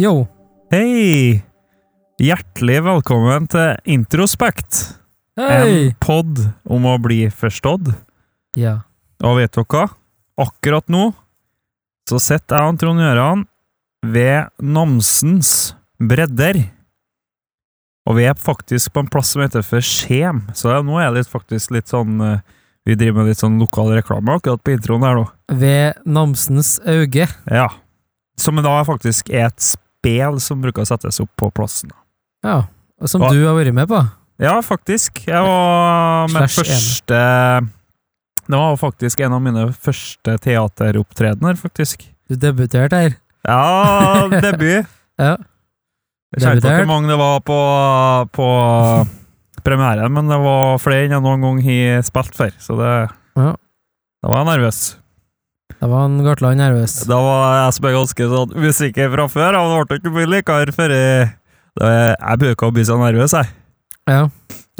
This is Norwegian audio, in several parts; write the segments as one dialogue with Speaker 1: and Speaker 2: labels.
Speaker 1: Yo.
Speaker 2: Hei! Hjertelig velkommen til Introspekt. En
Speaker 1: Hei!
Speaker 2: pod om å bli forstått.
Speaker 1: Ja.
Speaker 2: Og vet dere hva? Akkurat nå så sitter jeg og Trond Gjøran ved Namsens bredder. Og vi er faktisk på en plass som heter for Skjem, så nå er det litt- faktisk litt sånn eh, Vi driver med litt sånn lokal reklame akkurat på introen her nå.
Speaker 1: Ved Namsens Auge.
Speaker 2: Ja. Som da faktisk er et spel som bruker å settes opp på plassen.
Speaker 1: Ja. og Som
Speaker 2: Hva?
Speaker 1: du har vært med på.
Speaker 2: Ja, faktisk. Jeg var med
Speaker 1: Slash
Speaker 2: første Det var faktisk en av mine første teateropptredener, faktisk.
Speaker 1: Du debuterte her.
Speaker 2: Ja, debut.
Speaker 1: Ja.
Speaker 2: Jeg kjente ikke
Speaker 1: Debutert.
Speaker 2: hvor mange det var på, på premieren, men det var flere enn jeg noen gang har spilt før, så det
Speaker 1: Ja.
Speaker 2: Da var jeg nervøs.
Speaker 1: Da var han Gartland nervøs.
Speaker 2: Da var jeg som er ganske sånn usikker fra før, og det ble ikke mye likere før jeg det- Jeg bruker å bli så nervøs, jeg.
Speaker 1: Ja.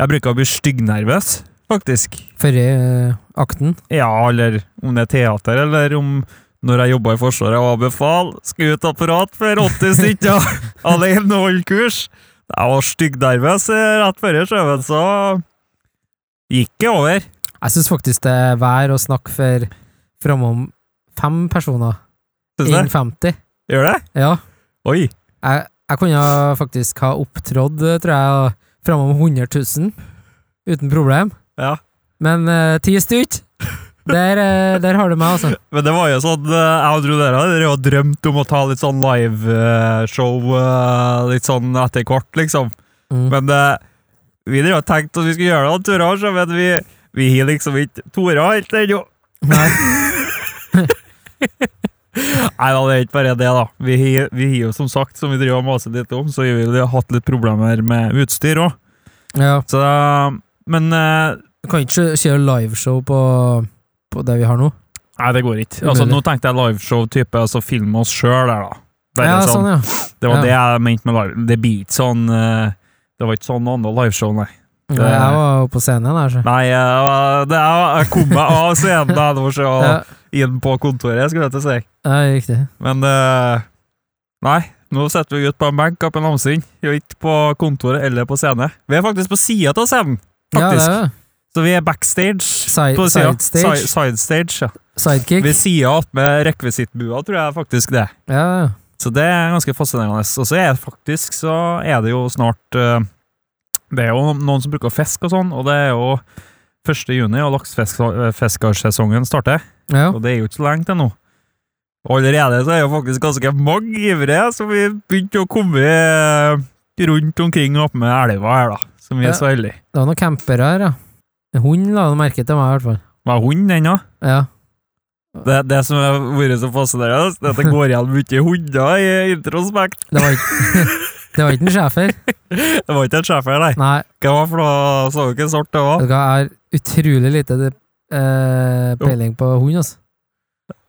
Speaker 2: Jeg bruker å bli styggnervøs, faktisk.
Speaker 1: Før eh, akten.
Speaker 2: Ja, eller om det er teater, eller om når jeg jobba i Forsvaret og var befal, skulle ut apparat for 80 stykker alene og holde kurs. Jeg var styggnervøs eh, rett før sjøen, så gikk det over.
Speaker 1: Jeg syns faktisk det er vær å snakke for framom fem personer.
Speaker 2: Syns du?
Speaker 1: 1,50.
Speaker 2: Gjør det?
Speaker 1: Ja.
Speaker 2: Oi!
Speaker 1: Jeg, jeg kunne faktisk ha opptrådt, eh, tror jeg, framom 100 000. Uten problem.
Speaker 2: Ja.
Speaker 1: Men eh, ti stykk! Der, eh, der har du meg, altså.
Speaker 2: Men det var jo sånn eh, Jeg og Trond Dere hadde jo drømt om å ta litt sånn liveshow litt sånn etter hvert, liksom.
Speaker 1: Mm.
Speaker 2: Men eh, vi drev og tenkte at vi skulle gjøre noen turer, så men vi, vi har liksom ikke tora helt ennå.
Speaker 1: Nei.
Speaker 2: Nei da, det er ikke bare det, da. Vi har vi har jo som sagt, som vi driver og maser litt om, så har vi jo hatt litt problemer med utstyr òg.
Speaker 1: Ja.
Speaker 2: Så eh, Men eh,
Speaker 1: Du kan ikke kjøre liveshow på, på det vi har nå?
Speaker 2: Nei, det går ikke. Altså,
Speaker 1: Umulig.
Speaker 2: nå tenkte jeg liveshow-type, altså filme oss sjøl der, da. Bare
Speaker 1: ja,
Speaker 2: sånn.
Speaker 1: sånn, ja.
Speaker 2: Det var
Speaker 1: Ja.
Speaker 2: det jeg mente med live. Det blir ikke sånn eh, Det var ikke sånn andre liveshow, nei.
Speaker 1: Ja, Jeg altså. var jo på scenen her, så.
Speaker 2: Nei, eh, det, jeg, jeg kom meg av scenen da jeg var så
Speaker 1: Ja,
Speaker 2: inn på kontoret, skulle jeg til å si.
Speaker 1: ja, riktig.
Speaker 2: Men eh, Nei, nå sitter vi ute på en benk oppe i Namsinn. Vi er Ikke på kontoret eller på scene. Vi er faktisk på sida av scenen,
Speaker 1: Ja, det
Speaker 2: faktisk.
Speaker 1: er det.
Speaker 2: Så vi er backstage.
Speaker 1: Side,
Speaker 2: På siden.
Speaker 1: sidestage.
Speaker 2: Si- Sidestage, ja.
Speaker 1: Sidekick.
Speaker 2: Ved sida attmed rekvisittbua, tror jeg faktisk det. er.
Speaker 1: Ja, ja.
Speaker 2: Så det er ganske fascinerende. Og så er det faktisk så er det jo snart eh, Det er jo noen som bruker fisk og sånn, og det er jo 1. juni, og laksefiskersesongen starter.
Speaker 1: ja.
Speaker 2: Og det er jo ikke så lenge til nå. Og allerede så er jo faktisk ganske mange ivrige som vi begynte å komme eh, rundt omkring oppe med elva her, da. Som vi
Speaker 1: Ja.
Speaker 2: er så heldige.
Speaker 1: Det var noen campere her, ja. En hund la han merke til meg, i hvert fall.
Speaker 2: Hva er hunden ennå?
Speaker 1: Ja.
Speaker 2: Det, det som har vært så fascinerende, det er at det går igjen mye hunder i introspekt.
Speaker 1: Det var ikke, det var ikke en schæfer.
Speaker 2: Det var ikke en schæfer, nei.
Speaker 1: Nei,
Speaker 2: Hva var det for noe? Så du ikke sort det var?
Speaker 1: vet du hva, jeg har utrolig lite eh, peiling på hund, altså.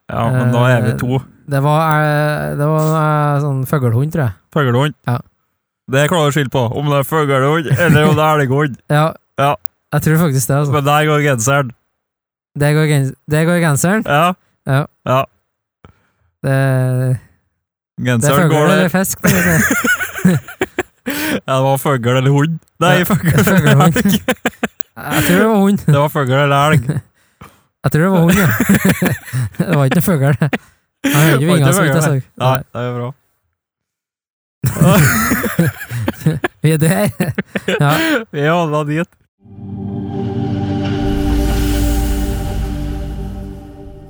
Speaker 2: Ja, men da er vi
Speaker 1: Eh,
Speaker 2: to.
Speaker 1: Det var, eh, det var eh, sånn fuglehund, tror jeg.
Speaker 2: Fuglehund.
Speaker 1: ja.
Speaker 2: Det klarer du å skille på, om det er fuglehund eller om det er elghund.
Speaker 1: Ja.
Speaker 2: Ja.
Speaker 1: Jeg tror faktisk det, altså.
Speaker 2: Men der går genseren.
Speaker 1: Det går, gens- det går genseren.
Speaker 2: Ja.
Speaker 1: Ja.
Speaker 2: ja.
Speaker 1: Det, det er
Speaker 2: Genseren
Speaker 1: fugl
Speaker 2: går
Speaker 1: eller
Speaker 2: der.
Speaker 1: fisk. det er det.
Speaker 2: Ja, det var fugl eller hund. Nei,
Speaker 1: Ja,
Speaker 2: fugl eller
Speaker 1: fuglehund.
Speaker 2: elg.
Speaker 1: Jeg tror det var hund.
Speaker 2: Det var fugl eller elg.
Speaker 1: Jeg tror det var hund, ja. det var ikke noe fugl. det. Jeg hørte ikke
Speaker 2: Det var ikke
Speaker 1: vingene, så vidt jeg så.
Speaker 2: Nei, det er bra.
Speaker 1: Vi er der. Ja.
Speaker 2: Vi handla dit.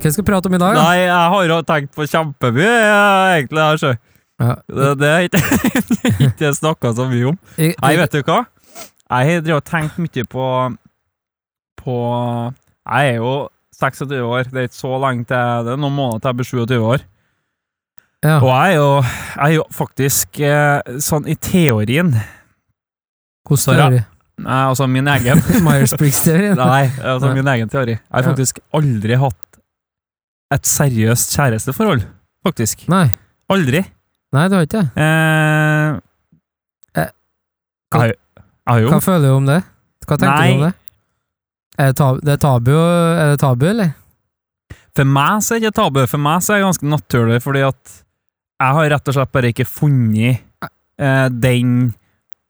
Speaker 1: Hva skal vi prate om i dag? da?
Speaker 2: Nei, jeg har jo tenkt på kjempemye, jeg, egentlig. her, sjø.
Speaker 1: Ja.
Speaker 2: Det, det er ikke ikke snakka så mye om.
Speaker 1: I,
Speaker 2: Nei, vet du hva? Jeg har drevet og tenkt mye på På Jeg er jo 26 år. Det er ikke så lenge til Det er noen måneder til jeg blir 27 år.
Speaker 1: ja.
Speaker 2: Og jeg er jo, jeg er jo faktisk eh, sånn i teorien eh,
Speaker 1: Hvordan
Speaker 2: Sara.
Speaker 1: teori?
Speaker 2: Altså min egen.
Speaker 1: Myers-Briggs-teorien?
Speaker 2: Nei, altså
Speaker 1: Nei.
Speaker 2: min egen teori. Jeg har
Speaker 1: Ja.
Speaker 2: faktisk aldri hatt et seriøst kjæresteforhold. Faktisk.
Speaker 1: Nei.
Speaker 2: Aldri.
Speaker 1: Nei, du har ikke det.
Speaker 2: Eh,
Speaker 1: Eh, hva-
Speaker 2: jeg, jeg har jo
Speaker 1: Hva føler du om det? Hva tenker
Speaker 2: Nei.
Speaker 1: du om det? Er det, tabu, det er, tabu, er det tabu, eller?
Speaker 2: For meg så er det ikke tabu. For meg så er det ganske naturlig, fordi at Jeg har rett og slett bare ikke funnet eh, den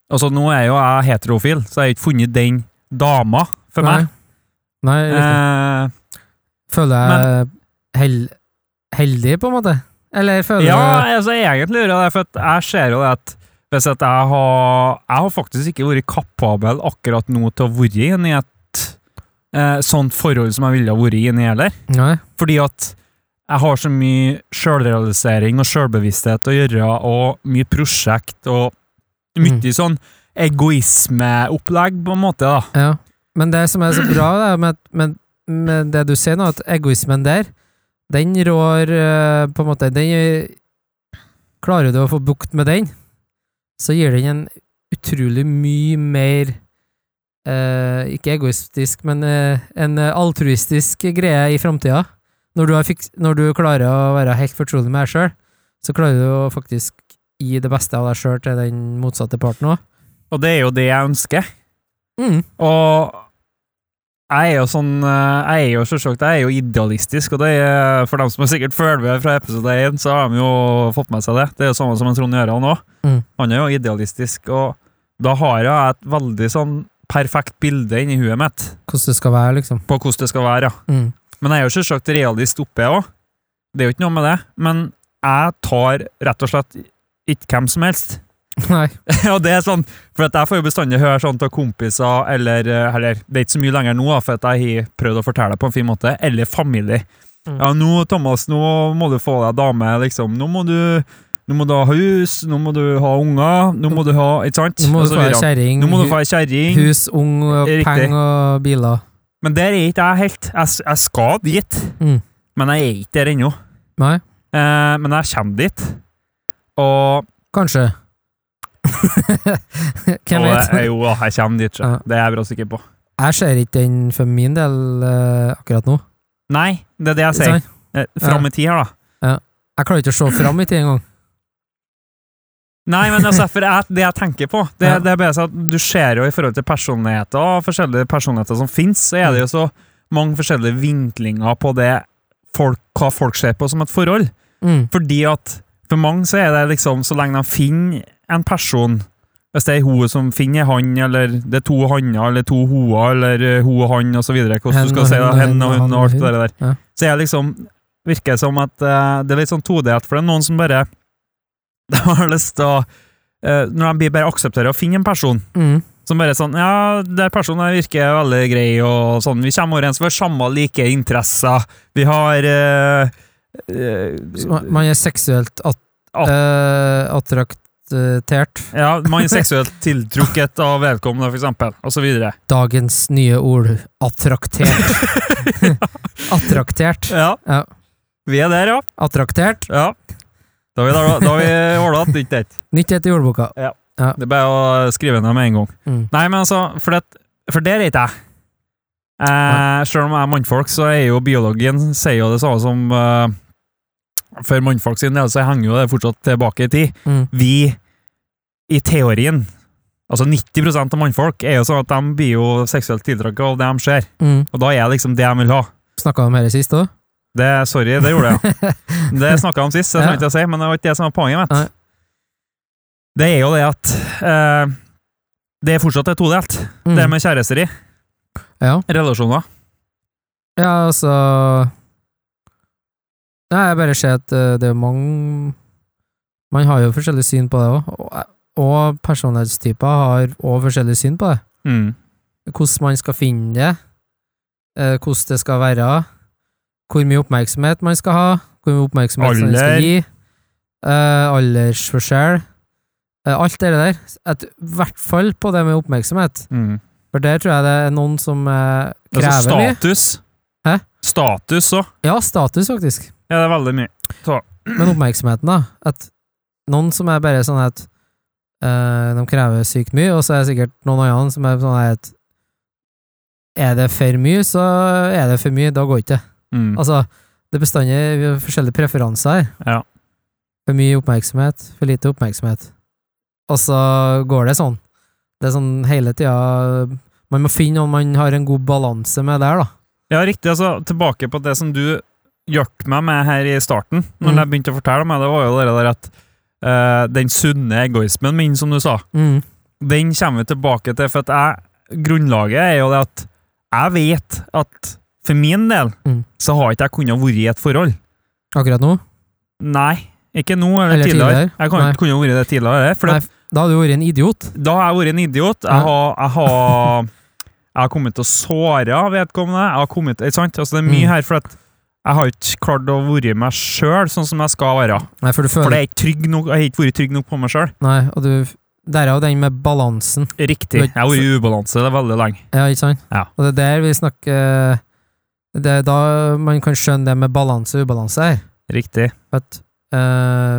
Speaker 2: Altså, nå er jo jeg heterofil, så jeg har ikke funnet den dama for meg.
Speaker 1: Nei, riktig.
Speaker 2: Eh,
Speaker 1: føler jeg hell, heldig, på en måte? Eller føler
Speaker 2: ja,
Speaker 1: jeg
Speaker 2: altså, egentlig gjør jeg det, for at jeg ser jo det at hvis at jeg har Jeg har faktisk ikke vært kapabel akkurat nå til å være inn i et eh, sånt forhold som jeg ville ha vært inn i heller.
Speaker 1: Nei.
Speaker 2: Fordi at jeg har så mye sjølrealisering og sjølbevissthet å gjøre, og mye prosjekt og mye
Speaker 1: Mm.
Speaker 2: sånn egoismeopplegg, på en måte. da.
Speaker 1: Ja. Men det som er så bra det er med, med, med det du sier nå, at egoismen der, den rår eh, på en måte den, eh, Klarer du å få bukt med den, så gir den en utrolig mye mer eh, Ikke egoistisk, men eh, en altruistisk greie i framtida. Når, du har fiks- når du klarer å være helt fortrolig med deg sjøl, så klarer du å faktisk gi det beste av deg sjøl til den motsatte parten òg.
Speaker 2: Og det er jo det jeg ønsker.
Speaker 1: Mm.
Speaker 2: Og jeg er jo sånn eh, Jeg er jo selvsagt jeg er jo idealistisk, og det er for dem som sikkert følger med fra episode 1, så har de jo fått med seg det. Det er jo samme som en Trond Gjøran òg.
Speaker 1: Mm.
Speaker 2: Han er jo idealistisk, og da har jeg et veldig sånn perfekt bilde inni huet mitt
Speaker 1: Hvordan det skal være, liksom.
Speaker 2: på hvordan det skal være. ja.
Speaker 1: Mm.
Speaker 2: Men jeg er jo selvsagt realist oppe, jeg òg. Det er jo ikke noe med det. Men jeg tar rett og slett ikke hvem som helst.
Speaker 1: Nei.
Speaker 2: og det er sånn, For at jeg får jo bestandig høre sånt av kompiser, eller, eh, eller Det er ikke så mye lenger nå, da, for at jeg har prøvd å fortelle det på en fin måte. Eller familie.
Speaker 1: Mm.
Speaker 2: Ja, nå, Thomas, nå må du få deg dame, liksom. Nå må du nå må du ha hus, nå må du ha unger, nå må du ha Ikke sant?
Speaker 1: Nå må
Speaker 2: Og
Speaker 1: du
Speaker 2: så
Speaker 1: få deg
Speaker 2: videre.
Speaker 1: kjerring,
Speaker 2: nå må du
Speaker 1: hu-
Speaker 2: få ei kjerring.
Speaker 1: hus, ung, og
Speaker 2: Riktig.
Speaker 1: penger og biler.
Speaker 2: Men der er ikke jeg helt. Jeg, s- jeg skal dit,
Speaker 1: Mm.
Speaker 2: men jeg er ikke der ennå.
Speaker 1: Nei,
Speaker 2: Eh, men jeg kommer dit, og,
Speaker 1: kanskje. Hvem
Speaker 2: og
Speaker 1: vet?
Speaker 2: eh, Jo, jeg kommer dit, så.
Speaker 1: Ja.
Speaker 2: det er jeg bra sikker på.
Speaker 1: Jeg ser ikke den for min del eh, akkurat nå.
Speaker 2: Nei, det er det jeg sier.
Speaker 1: Sant?
Speaker 2: Eh, Fram i tid her, da.
Speaker 1: Jeg klarer ikke å se fram i tid engang.
Speaker 2: Nei, men altså, for jeg, det jeg tenker på, det,
Speaker 1: Ja.
Speaker 2: det er bare sånn at du ser jo i forhold til personligheter og forskjellige personligheter som finnes, så er det jo så mange forskjellige vinklinger på det folk, hva folk ser på som et forhold.
Speaker 1: Mm.
Speaker 2: Fordi at for mange så er det liksom, så lenge de finner en person, hvis det er hun som finner han, eller det er to hanner, eller to hoa, eller eh, hun og han, og så videre, hvordan
Speaker 1: Hen
Speaker 2: du
Speaker 1: og
Speaker 2: skal si
Speaker 1: hun
Speaker 2: det,
Speaker 1: og
Speaker 2: hen
Speaker 1: hen
Speaker 2: og
Speaker 1: og
Speaker 2: hun
Speaker 1: han
Speaker 2: og alt
Speaker 1: og
Speaker 2: det
Speaker 1: hun.
Speaker 2: der.
Speaker 1: Ja.
Speaker 2: Så jeg liksom virker som at eh, det er litt sånn todelt, for det er noen som bare de har lyst til å eh, Når de blir bare aksepterer å finne en person
Speaker 1: Mm.
Speaker 2: som bare er sånn Ja, den personen her virker veldig grei, og sånn. Vi kommer overens, vi har samme like interesser, vi har eh, eh,
Speaker 1: Så man- Man er seksuelt at,
Speaker 2: At-
Speaker 1: eh, attraktert.
Speaker 2: Ja, man er seksuelt tiltrukket av vedkommende, for eksempel, og så videre.
Speaker 1: Dagens nye ord attraktert. attraktert.
Speaker 2: Ja.
Speaker 1: Ja.
Speaker 2: Vi er der, ja.
Speaker 1: Attraktert.
Speaker 2: ja. Da er vi der, da. Da har vi ordna at det ikke er
Speaker 1: Nytt etter jordboka.
Speaker 2: Det er bare å skrive ned med en gang.
Speaker 1: Mm.
Speaker 2: Nei, men altså, for, det, for der er ikke jeg. Eh, selv om jeg er mannfolk, så er jo biologien sier jo det samme som eh, For mannfolk sin del så henger jo det fortsatt tilbake i tid.
Speaker 1: Mm.
Speaker 2: Vi, i teorien Altså 90 av mannfolk er jo sånn at de blir jo seksuelt tiltrukket av det de ser,
Speaker 1: Mm.
Speaker 2: og da er liksom det de vil ha.
Speaker 1: Snakka om dette sist òg.
Speaker 2: Det, sorry, det gjorde jeg. Det snakka jeg om sist, så det
Speaker 1: Ja.
Speaker 2: trenger jeg ikke å si, men det var ikke det som var poenget mitt.
Speaker 1: Nei.
Speaker 2: Det er jo det at eh, det er fortsatt er todelt.
Speaker 1: Mm.
Speaker 2: Det med kjærester i.
Speaker 1: Ja.
Speaker 2: Relasjoner.
Speaker 1: Ja, altså Nei, jeg bare ser at eh, det er mange Man har jo forskjellig syn på det òg, og, eh, og personlighetstyper har òg forskjellig syn på det.
Speaker 2: Mm.
Speaker 1: Hvordan man skal finne det, eh, hvordan det skal være, hvor mye oppmerksomhet man skal ha, hvor mye oppmerksomhet man
Speaker 2: Alder.
Speaker 1: skal gi, eh, aldersforskjell eh, Alt det der. At- I hvert fall på det med oppmerksomhet,
Speaker 2: Mm.
Speaker 1: for der tror jeg det er noen som eh,
Speaker 2: Altså
Speaker 1: krever mye.
Speaker 2: status.
Speaker 1: Hæ?
Speaker 2: Status òg.
Speaker 1: Ja, status, faktisk.
Speaker 2: Ja, det er veldig mye.
Speaker 1: Men oppmerksomheten, da. At noen som er bare sånn at eh, de krever sykt mye, og så er det sikkert noen andre som er sånn at er det for mye, så er det for mye. Da går ikke det.
Speaker 2: Mm.
Speaker 1: Altså, det er bestandig vi har forskjellige preferanser her.
Speaker 2: Ja.
Speaker 1: For mye oppmerksomhet, for lite oppmerksomhet. Og så går det sånn. Det er sånn hele tida Man må finne noen man har en god balanse med der, da.
Speaker 2: Ja, riktig. Altså, tilbake på det som du hjalp meg med her i starten, når
Speaker 1: Mm.
Speaker 2: jeg begynte å fortelle om det, det var jo det der at eh, den sunne egoismen min, som du sa,
Speaker 1: Mm.
Speaker 2: den kommer vi tilbake til, for at jeg, grunnlaget er jo det at jeg vet at for min del
Speaker 1: Mm.
Speaker 2: så har ikke jeg kunnet vært i et forhold.
Speaker 1: Akkurat nå?
Speaker 2: Nei, ikke nå eller,
Speaker 1: Eller
Speaker 2: tidligere.
Speaker 1: tidligere.
Speaker 2: Jeg kan
Speaker 1: Nei.
Speaker 2: ikke kunne vært i det tidligere, for
Speaker 1: Nei, Da hadde du vært en idiot.
Speaker 2: da har jeg vært en idiot.
Speaker 1: Ja.
Speaker 2: Jeg har, jeg har, jeg har kommet til å såre vedkommende. Jeg har kommet, ikke sant? Altså, det er mye
Speaker 1: Mm.
Speaker 2: her, for at jeg har ikke klart å være meg sjøl sånn som jeg skal være.
Speaker 1: Nei, for du
Speaker 2: For
Speaker 1: føler
Speaker 2: jeg er ikke trygg nok, jeg har ikke vært trygg nok på meg sjøl.
Speaker 1: Nei, og du Derav den med balansen.
Speaker 2: Riktig. Jeg har vært i ubalanse det er veldig lenge.
Speaker 1: Ja, ikke sant?
Speaker 2: Ja.
Speaker 1: Og det er der vi snakker Det er da man kan skjønne det med balanse og ubalanse her.
Speaker 2: Riktig.
Speaker 1: At eh,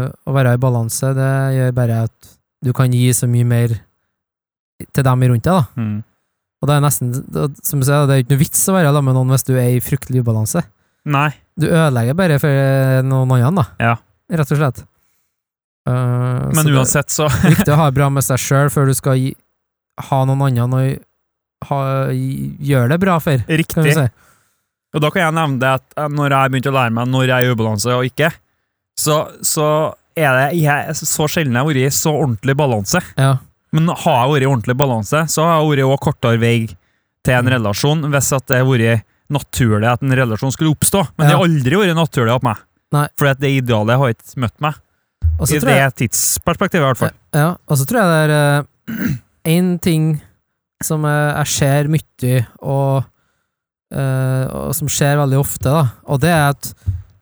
Speaker 1: å være i balanse, det gjør bare at du kan gi så mye mer til dem rundt deg, da.
Speaker 2: Mm.
Speaker 1: Og det er nesten, det- som du sier, det er jo ikke noe vits å være sammen med noen hvis du er i fryktelig ubalanse.
Speaker 2: Nei.
Speaker 1: Du ødelegger bare for noen andre, da.
Speaker 2: Ja.
Speaker 1: Rett og slett. Eh, så
Speaker 2: Men
Speaker 1: det-
Speaker 2: uansett, så
Speaker 1: det er viktig å ha det bra med seg sjøl før du skal gi, ha noen andre å ha- gjøre det bra for, kan du
Speaker 2: Riktig.
Speaker 1: si.
Speaker 2: Og da kan jeg nevne det at eh, når jeg begynte å lære meg når jeg er i ubalanse og ikke, så, så er det jeg, så sjelden jeg har vært i så ordentlig balanse.
Speaker 1: Ja.
Speaker 2: Men har jeg vært i ordentlig balanse, så har jeg vært også kortere vei til en
Speaker 1: Mm.
Speaker 2: relasjon hvis at det har vært naturlig at en relasjon skulle oppstå. Men det
Speaker 1: Ja.
Speaker 2: har aldri vært naturlig opp meg.
Speaker 1: Nei.
Speaker 2: Fordi at det idealet har ikke møtt meg.
Speaker 1: Og så
Speaker 2: I
Speaker 1: tror
Speaker 2: det
Speaker 1: jeg,
Speaker 2: tidsperspektivet, i hvert fall.
Speaker 1: ja, og så tror jeg det er én ting som eh, jeg ser mye, og, eh, og som skjer veldig ofte, da, og det er at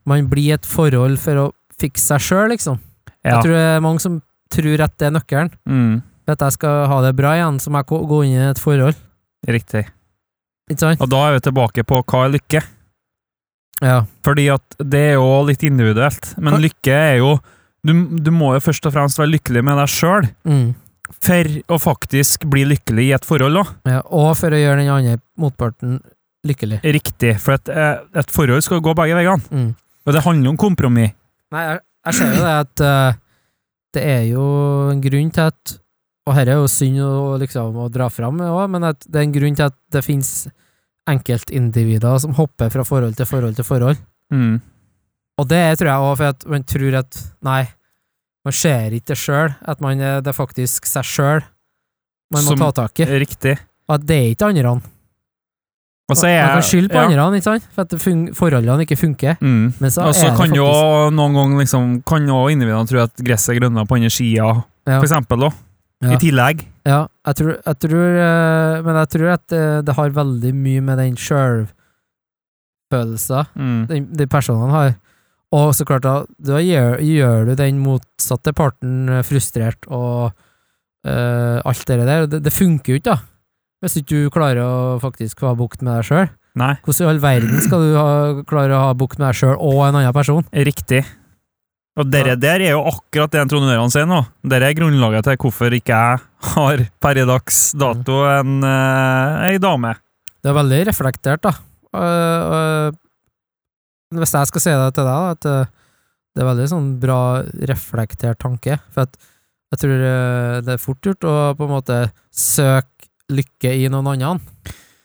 Speaker 1: man blir i et forhold for å fikse seg sjøl, liksom.
Speaker 2: Ja.
Speaker 1: Jeg tror det er mange som tror at det er nøkkelen.
Speaker 2: Mm,
Speaker 1: For at jeg skal ha det bra igjen, så må jeg gå- gå inn i et forhold.
Speaker 2: riktig.
Speaker 1: Ikke sant?
Speaker 2: Og da er vi tilbake på hva er lykke?
Speaker 1: Ja.
Speaker 2: Fordi at det er jo litt individuelt. Men
Speaker 1: Kan-
Speaker 2: lykke er jo du, du må jo først og fremst være lykkelig med deg sjøl
Speaker 1: Mm.
Speaker 2: for å faktisk bli lykkelig i et forhold òg.
Speaker 1: ja. Og for å gjøre den andre motparten lykkelig.
Speaker 2: Riktig. For et, eh, et forhold skal gå begge veiene.
Speaker 1: Mm.
Speaker 2: Og det handler om kompromiss.
Speaker 1: Nei, jeg, jeg ser jo det at eh, det er jo en grunn til at Og her er jo synd å, liksom, å dra fram òg, men at det er en grunn til at det finnes enkeltindivider som hopper fra forhold til forhold til forhold.
Speaker 2: Mm.
Speaker 1: Og det tror jeg òg, for at man tror at Nei, man ser ikke det sjøl, at man er det er faktisk seg sjøl man må
Speaker 2: Som-
Speaker 1: ta tak i.
Speaker 2: Riktig.
Speaker 1: Og at det er ikke andre.
Speaker 2: Og så er
Speaker 1: man kan
Speaker 2: jeg-
Speaker 1: skylde på
Speaker 2: ja.
Speaker 1: andre, ikke sant? for at det fun forholdene ikke funker.
Speaker 2: Mm.
Speaker 1: Men så
Speaker 2: Og så
Speaker 1: er det
Speaker 2: kan
Speaker 1: faktisk
Speaker 2: jo noen ganger liksom, kan jo individene tro at gresset er grønnere på andre sida,
Speaker 1: Ja.
Speaker 2: for eksempel. Også.
Speaker 1: Ja.
Speaker 2: I tillegg.
Speaker 1: Ja, jeg tror, jeg tror eh, Men jeg tror at eh, det har veldig mye med den sjølfølelsen
Speaker 2: Mm.
Speaker 1: de, de personene har. Og så klart, da, da gjør, gjør du den motsatte parten eh, frustrert og eh, alt det der. Det, det funker jo ikke, da. Hvis ikke du klarer å faktisk ha bukt med deg sjøl.
Speaker 2: Nei,
Speaker 1: Hvordan i all verden skal du ha, klare å ha bukt med deg sjøl og en annen person?
Speaker 2: riktig. Og dere
Speaker 1: Ja.
Speaker 2: der er jo akkurat det Trond Øran sier nå. Dere er grunnlaget til hvorfor ikke jeg har per i dags dato en eh, ei dame.
Speaker 1: Det er veldig reflektert, da. Eh, eh, hvis jeg skal si det til deg, da, at eh, det er veldig sånn bra reflektert tanke. For at jeg tror eh, det er fort gjort å på en måte søke lykke i noen annen.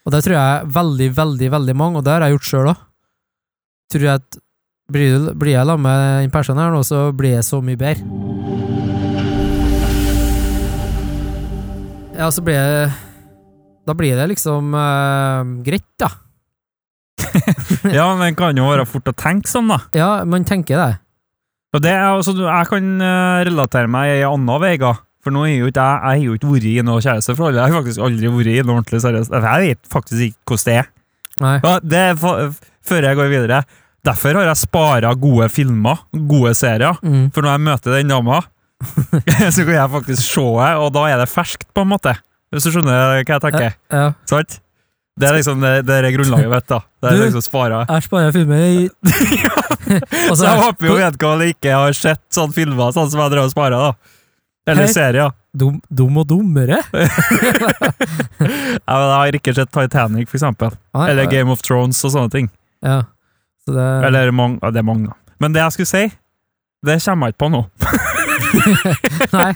Speaker 1: Og det tror jeg er veldig, veldig, veldig mange, og det har jeg gjort sjøl òg. Tror jeg at blir, du- blir jeg sammen med den personen her nå, så blir jeg så mye bedre. Ja, så blir jeg Da blir det liksom eh, greit, da.
Speaker 2: Ja, men det kan jo være fort å tenke sånn, da.
Speaker 1: Ja, man tenker det.
Speaker 2: Og det er, altså, du- jeg kan eh, relatere meg i anna veiga. For nå er jo ikke jeg, jeg har jo ikke vært i noe kjæresteforhold. Jeg har faktisk aldri vært i noe ordentlig seriøst. Jeg vet faktisk ikke hvordan det er.
Speaker 1: Nei.
Speaker 2: Ja, det er fa- Før jeg går videre Derfor har jeg spara gode filmer, gode serier.
Speaker 1: Mm.
Speaker 2: For når jeg møter den dama, så kan jeg faktisk se det, og da er det ferskt, på en måte. Hvis du skjønner hva jeg tenker?
Speaker 1: Ja.
Speaker 2: Sant? Det er liksom det, det er grunnlaget mitt. da. Det er
Speaker 1: Du- altså,
Speaker 2: liksom spara.
Speaker 1: Jeg sparer filmer i Og
Speaker 2: Så
Speaker 1: så-
Speaker 2: jeg håper jo vedkommende ikke har sett sånne filmer sånn som jeg drev og spara. da. Eller
Speaker 1: Hei.
Speaker 2: serier.
Speaker 1: Dum, dum og dummere?
Speaker 2: Jeg, jeg har ikke sett Titanic, for eksempel.
Speaker 1: Nei,
Speaker 2: Eller Game of Thrones og sånne ting.
Speaker 1: Ja. Så det,
Speaker 2: Eller mange, ja, det er mange, da. Men det jeg skulle si, det kommer jeg ikke på nå.
Speaker 1: Nei.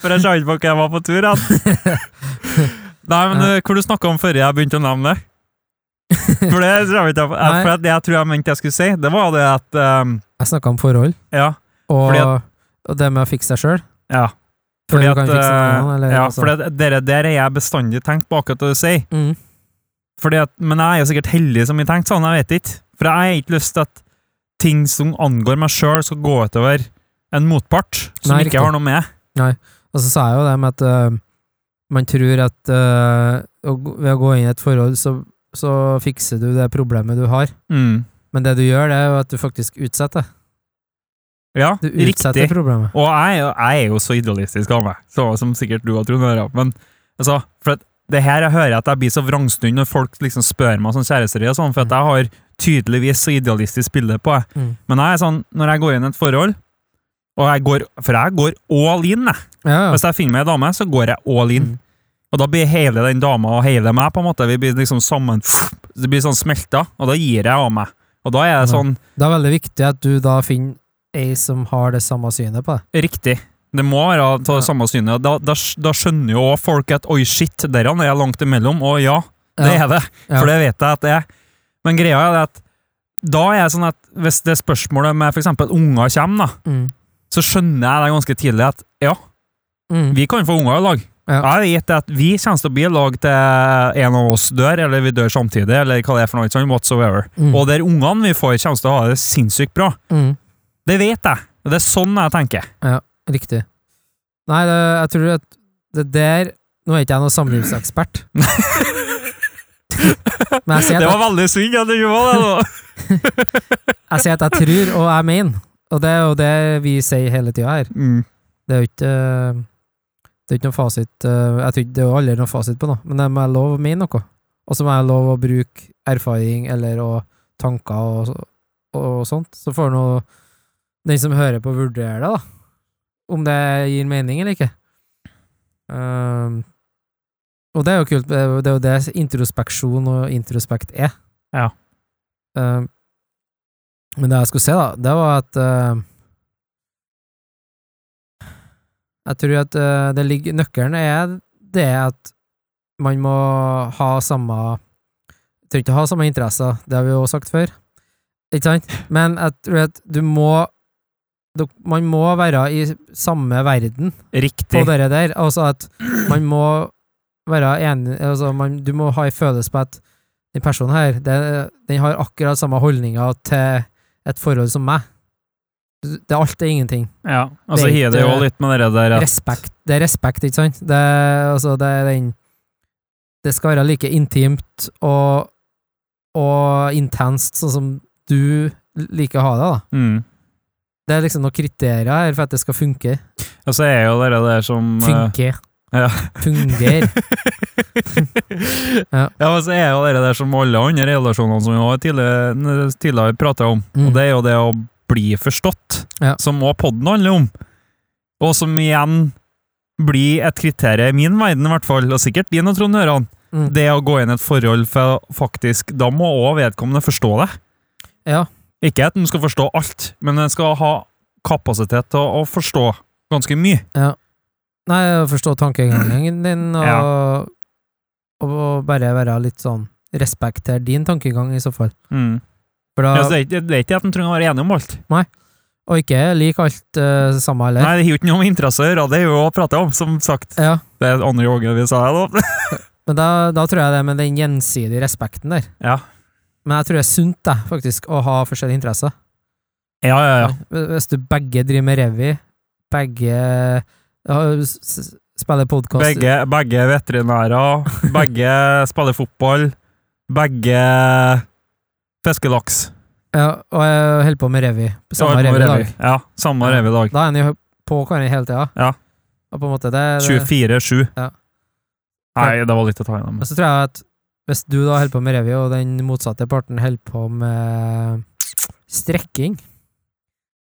Speaker 2: For jeg sa ikke på hva jeg var på tur. Jeg. Nei, men eh, Hvor du snakka om før jeg begynte å nevne det? For det tror jeg ikke jeg for det- det jeg tror jeg mente jeg skulle si, det var det at ehm,
Speaker 1: Jeg snakka om forhold,
Speaker 2: Ja.
Speaker 1: og,
Speaker 2: Fordi at-
Speaker 1: og det med å fikse seg sjøl.
Speaker 2: ja. Fordi at, eh, ja,
Speaker 1: altså.
Speaker 2: for det, dere der er jeg bestandig tenkt på akkurat det du sier.
Speaker 1: mm.
Speaker 2: Fordi at, men jeg er jo sikkert heldig som jeg tenkte sånn, jeg vet ikke. For jeg har ikke lyst til at ting som angår meg sjøl, skal gå utover en motpart som
Speaker 1: Nei,
Speaker 2: ikke
Speaker 1: riktig.
Speaker 2: har noe med.
Speaker 1: Og så sa jeg jo det med at øh, man tror at øh, å gå- ved å gå inn i et forhold, så, så fikser du det problemet du har.
Speaker 2: Mm.
Speaker 1: Men det du gjør, det er jo at du faktisk utsetter.
Speaker 2: Ja,
Speaker 1: Du utsetter
Speaker 2: riktig.
Speaker 1: problemet.
Speaker 2: Og jeg, er jo- jeg er jo så idealistisk av meg, så, som sikkert du og Trond hører. Men altså, for at det her jeg hører at jeg blir så vrangstund når folk liksom spør meg som kjærester, og sånn, for at jeg har tydeligvis så idealistisk bilde på det.
Speaker 1: Mm.
Speaker 2: Men jeg er sånn, når jeg går inn i et forhold, og jeg går, for jeg går all in, jeg.
Speaker 1: Ja, ja.
Speaker 2: Hvis jeg finner meg ei dame, så går jeg all in.
Speaker 1: Mm.
Speaker 2: Og da blir hele den dama og hele meg på en måte, vi blir liksom sammen, det blir sånn smelta, og da gir jeg av meg. Og da er det
Speaker 1: Ja.
Speaker 2: sånn
Speaker 1: Det er veldig viktig at du da finner ei som har det samme synet på deg.
Speaker 2: riktig. Det må være av
Speaker 1: Ja.
Speaker 2: det samme synet. Da, da, sk- da skjønner jo også folk at oi, shit, der han er langt imellom. Og ja, det er det.
Speaker 1: Ja.
Speaker 2: For det vet jeg at det er. Men greia er det at da er jeg sånn at hvis det spørsmålet med f.eks. unger kommer, da,
Speaker 1: Mm.
Speaker 2: så skjønner jeg det ganske tidlig at ja,
Speaker 1: Mm.
Speaker 2: vi kan få unger i lag.
Speaker 1: Ja.
Speaker 2: Jeg vet at vi kommer til å bli i lag til en av oss dør, eller vi dør samtidig, eller hva det er for noe sånt, whatsoever.
Speaker 1: Mm.
Speaker 2: Og der ungene vi får, kommer til å ha det sinnssykt bra.
Speaker 1: Mm.
Speaker 2: Det vet jeg. Og Det er sånn jeg tenker.
Speaker 1: Riktig. Nei, det, jeg tror at det der Nå er ikke jeg noen samlivsekspert, men jeg sier
Speaker 2: Det
Speaker 1: at
Speaker 2: var veldig synd at du ikke var det, da.
Speaker 1: jeg, sier at jeg tror, og jeg mener. Og det er jo det vi sier hele tida her.
Speaker 2: Mm.
Speaker 1: Det er jo ikke eh, Det er ikke noe fasit eh, Jeg tror ikke det er jo aldri noe fasit på noe, men jeg må jeg lov å mene noe. Og så må jeg lov å bruke erfaring eller og tanker og, så- og sånt. Så får nå den som hører på, vurdere det, da. Om det gir mening eller ikke. Ehm, og det er jo kult. Det er jo det, er jo det introspeksjon og introspekt er.
Speaker 2: Ja.
Speaker 1: Ehm, men det jeg skulle se, da, det var at ehm, jeg tror at eh, det ligger, nøkkelen er det at man må ha samme Trenger ikke ha samme interesser, det har vi jo sagt før. Ikke sant? Men jeg tror at du må dok- Man må være i samme verden på
Speaker 2: Riktig.
Speaker 1: det der. Altså at man må være enig altså man, Du må ha en følelse på at den personen her, det, den har akkurat samme holdninger til et forhold som meg. Det er alt er ingenting
Speaker 2: Ja. Og så
Speaker 1: Vet
Speaker 2: har det jo
Speaker 1: du-
Speaker 2: litt med det der at
Speaker 1: respekt. Det er respekt, ikke sant? Det, er- altså, det er den Det skal være like intimt og, og intenst, sånn som du liker å ha det, da.
Speaker 2: Mm.
Speaker 1: Det er liksom noen kriterier her for at det skal funke.
Speaker 2: Og så er jo det der som eh,
Speaker 1: Funke.
Speaker 2: ja.
Speaker 1: Funger. Ja.
Speaker 2: ja. men så er jo det der som alle andre relasjonene som vi har tidligere, tidligere pratet om,
Speaker 1: Mm.
Speaker 2: og det er jo det å bli forstått,
Speaker 1: Ja.
Speaker 2: som også podden handler om, og som igjen blir et kriterium i min verden i hvert fall, og sikkert din og Trond Høran,
Speaker 1: Mm.
Speaker 2: det å gå inn i et forhold for faktisk, da må også vedkommende forstå det.
Speaker 1: Ja.
Speaker 2: Ikke at den skal forstå alt, men den skal ha kapasitet til å, å forstå ganske mye.
Speaker 1: Nei, å forstå tankegangen din, og, og bare være litt sånn Respekter din tankegang, i så fall.
Speaker 2: Mm.
Speaker 1: For da,
Speaker 2: Ja, så det, er ikke- det er ikke at den trenger å være enig om alt.
Speaker 1: og ikke like alt uh, samme heller.
Speaker 2: Nei, det har jo ikke noe med interesse å gjøre, det er jo å prate om, som sagt.
Speaker 1: Ja,
Speaker 2: Det er andre gangen vi sa det da.
Speaker 1: men da, da tror jeg det med den gjensidige respekten der
Speaker 2: Ja,
Speaker 1: Men jeg tror det er sunt da, faktisk, å ha forskjellige interesser.
Speaker 2: ja, ja. ja.
Speaker 1: Hvis du begge driver med revy, begge ja, s- s- spiller podkast
Speaker 2: Begge, begge er veterinærer, begge spiller fotball, begge fiskelaks.
Speaker 1: ja, Og jeg holder på med revy. på Samme
Speaker 2: Samme
Speaker 1: revy i dag.
Speaker 2: revy. Ja, samme rev i dag.
Speaker 1: Da er en jo på hverandre hele tida.
Speaker 2: Ja.
Speaker 1: Og på en måte det, det.
Speaker 2: 24-7.
Speaker 1: Ja.
Speaker 2: Nei, det var litt å ta igjen.
Speaker 1: Men så tror jeg at hvis du da holder på med revy, og den motsatte parten holder på med strekking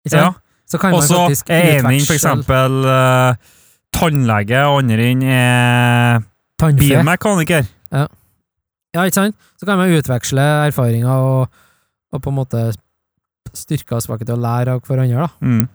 Speaker 1: ikke
Speaker 2: Ja,
Speaker 1: sant? Så kan
Speaker 2: og
Speaker 1: man
Speaker 2: så
Speaker 1: faktisk
Speaker 2: er en inn for
Speaker 1: utveksle
Speaker 2: eksempel eh, tannlege, og andre inn er
Speaker 1: tannfe.
Speaker 2: bilmekaniker.
Speaker 1: Ja, ikke sant? Så kan man utveksle erfaringer og, og på en måte styrke og svakheter og lære av hverandre. da.
Speaker 2: Mm.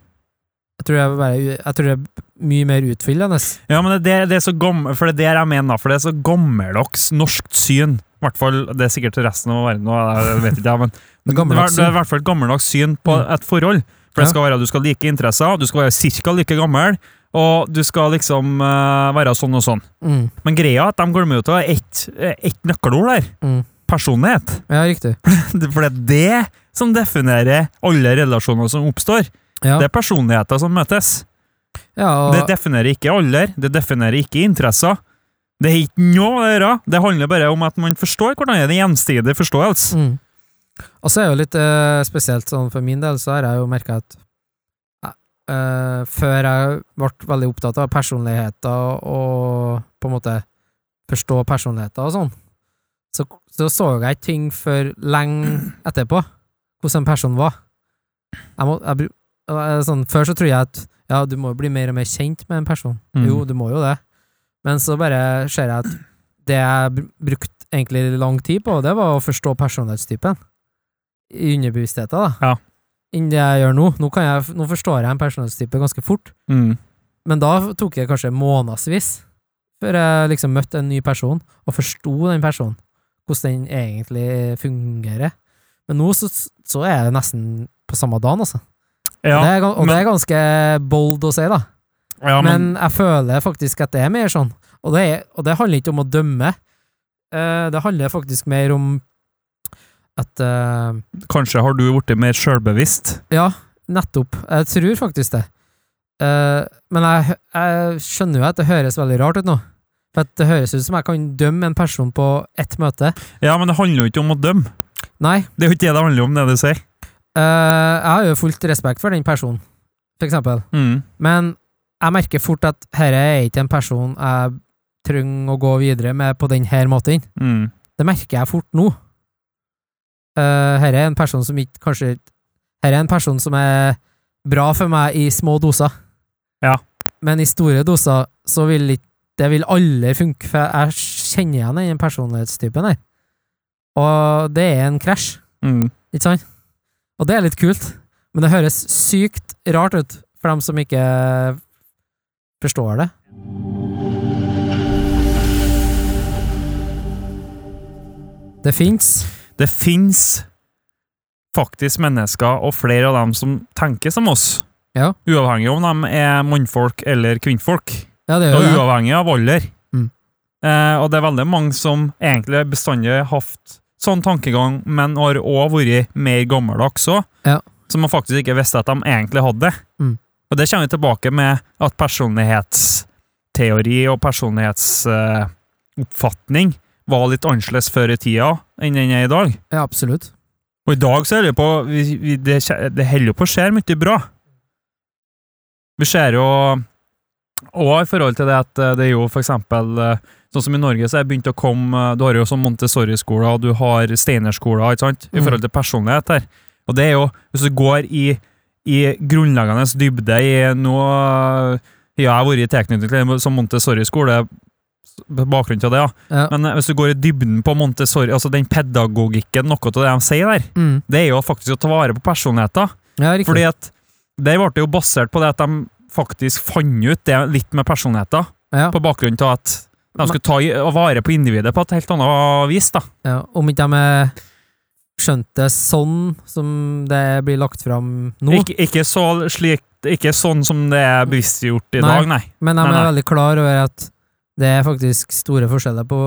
Speaker 1: Jeg tror, jeg, bare, jeg tror det er mye mer utfyllende.
Speaker 2: Ja, men det, det er så gammel, for det er det jeg mener, da, for det er så gammeldags norskt syn I hvert fall, Det er sikkert resten av verden, og jeg vet ikke, jeg, men
Speaker 1: Det er gammeldags
Speaker 2: det er i hvert fall et gammeldags syn på
Speaker 1: Mm.
Speaker 2: et forhold. For
Speaker 1: Ja.
Speaker 2: det skal være at Du skal like interesser, du skal være cirka like gammel, og du skal liksom eh, være sånn og sånn.
Speaker 1: Mm,
Speaker 2: Men greia er at de glemmer jo til å ha ett eh, ett nøkkelord der.
Speaker 1: mm.
Speaker 2: Personlighet.
Speaker 1: Ja, riktig.
Speaker 2: For det er det som definerer alle relasjoner som oppstår.
Speaker 1: Ja,
Speaker 2: Det er personligheter som møtes.
Speaker 1: ja
Speaker 2: Det
Speaker 1: og,
Speaker 2: definerer ikke alder, det definerer ikke interesser. Det er ikke noe å gjøre. Det handler bare om at man forstår hverandre. Det er gjensidig forståelse.
Speaker 1: mm. og så er det jo litt eh, spesielt sånn for min del, så har jeg jo merka at eh, før jeg ble veldig opptatt av personligheter og på en måte forstå personligheter og sånn, så, så så jeg ikke ting før lenge etterpå, hvordan en person var. Jeg må, jeg, bru- eh, sånn, før så trodde jeg at ja, du må jo bli mer og mer kjent med en person.
Speaker 2: Mm.
Speaker 1: Jo, du må jo det. Men så bare ser jeg at det jeg br- brukte egentlig lang tid på, det var å forstå personlighetstypen i underbevisstheten, da.
Speaker 2: Ja.
Speaker 1: Enn det jeg gjør nå. Nå, kan jeg, nå forstår jeg en personlighetstype ganske fort,
Speaker 2: Mm.
Speaker 1: men da tok det kanskje månedsvis før jeg liksom møtte en ny person og forsto den personen, hvordan den egentlig fungerer. Men nå så, så er det nesten på samme dagen, altså.
Speaker 2: Ja,
Speaker 1: det er, gan- og det
Speaker 2: men-
Speaker 1: er ganske bold å si, da.
Speaker 2: ja, men,
Speaker 1: Men jeg føler faktisk at det er mer sånn. Og det, er, og det handler ikke om å dømme. Eh, det handler faktisk mer om at eh,
Speaker 2: kanskje har du blitt mer sjølbevisst.
Speaker 1: Ja, nettopp. Jeg tror faktisk det. Eh, men jeg, hø- jeg skjønner jo at det høres veldig rart ut nå. For at det høres ut som jeg kan dømme en person på ett møte.
Speaker 2: Ja, men det handler jo ikke om å dømme.
Speaker 1: Nei,
Speaker 2: Det er jo ikke det det handler om, det du sier.
Speaker 1: eh, jeg har jo fullt respekt for den personen, for eksempel.
Speaker 2: Mm.
Speaker 1: Men jeg merker fort at dette er ikke en person jeg trenger å gå videre med på denne måten.
Speaker 2: Mm.
Speaker 1: Det merker jeg fort nå. Uh, her er en person som ikke kanskje Her er en person som er bra for meg i små doser.
Speaker 2: Ja.
Speaker 1: Men i store doser så vil ikke Det vil aldri funke, for jeg kjenner igjen den personlighetstypen her. Og det er en krasj,
Speaker 2: Mm.
Speaker 1: ikke sant? Og det er litt kult, men det høres sykt rart ut for dem som ikke forstår det. Det fins.
Speaker 2: Det fins faktisk mennesker, og flere av dem som tenker som oss.
Speaker 1: Ja.
Speaker 2: Uavhengig om de er mannfolk eller kvinnfolk.
Speaker 1: Ja, det
Speaker 2: Og
Speaker 1: gjør jo det.
Speaker 2: uavhengig av alder.
Speaker 1: Mm.
Speaker 2: Eh, og det er veldig mange som egentlig bestandig har hatt sånn tankegang, men har òg vært mer gammeldags òg.
Speaker 1: Ja.
Speaker 2: Som man faktisk ikke visste at de egentlig hadde.
Speaker 1: Mm.
Speaker 2: Og det kommer vi tilbake med at personlighetsteori og personlighetsoppfatning eh, oppfatning var litt annerledes før i tida enn den er i dag.
Speaker 1: Ja, absolutt.
Speaker 2: Og i dag så er det jo på vi, vi, Det, skje- det holder jo på å skje mye bra. Vi ser jo Og i forhold til det at eh, det er jo for eksempel eh, Sånn som i Norge så er det begynt å komme eh, Du har jo sånn Montessori-skoler, og du har Steiner-skoler, ikke sant? I
Speaker 1: Mm.
Speaker 2: forhold til personlighet her. Og det er jo Hvis du går i, i grunnleggende dybde i noe eh, Ja, jeg har vært i tilknytning til en sånn Montessori-skole, bakgrunnen til det, ja.
Speaker 1: Ja.
Speaker 2: Men eh, hvis du går i dybden på Montessori, altså den pedagogikken, noe av det de sier der
Speaker 1: Mm.
Speaker 2: det er jo faktisk å ta vare på personligheter.
Speaker 1: Ja, riktig.
Speaker 2: Fordi at det ble jo basert på det at de faktisk fant ut det litt med personligheter,
Speaker 1: ja.
Speaker 2: på bakgrunn av at de skulle ta i- og vare på individet på et helt annet vis. da.
Speaker 1: Ja, om ikke de eh, skjønte det sånn som det blir lagt fram nå,
Speaker 2: Ikke, ikke, så slik, ikke sånn som det er bevisstgjort i
Speaker 1: Nei.
Speaker 2: dag, nei.
Speaker 1: men de
Speaker 2: nei,
Speaker 1: er
Speaker 2: nei.
Speaker 1: veldig klar over at det er faktisk store forskjeller på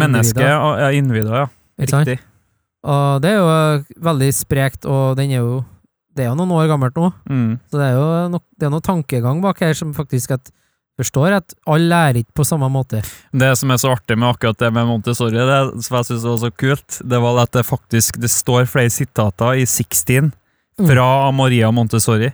Speaker 2: Mennesket
Speaker 1: individer,
Speaker 2: og ja, individer, ja.
Speaker 1: ikke sant?
Speaker 2: Riktig.
Speaker 1: Og det er jo eh, veldig sprekt, og den er jo Det er jo noen år gammelt nå,
Speaker 2: Mm.
Speaker 1: så det er jo nok, det er noe tankegang bak her som faktisk at forstår at alle lærer ikke på samme måte.
Speaker 2: Det som er så artig med akkurat det med Montessori, det som jeg synes var så kult, det var at det faktisk det står flere sitater i 16
Speaker 1: Mm.
Speaker 2: fra Maria Montessori.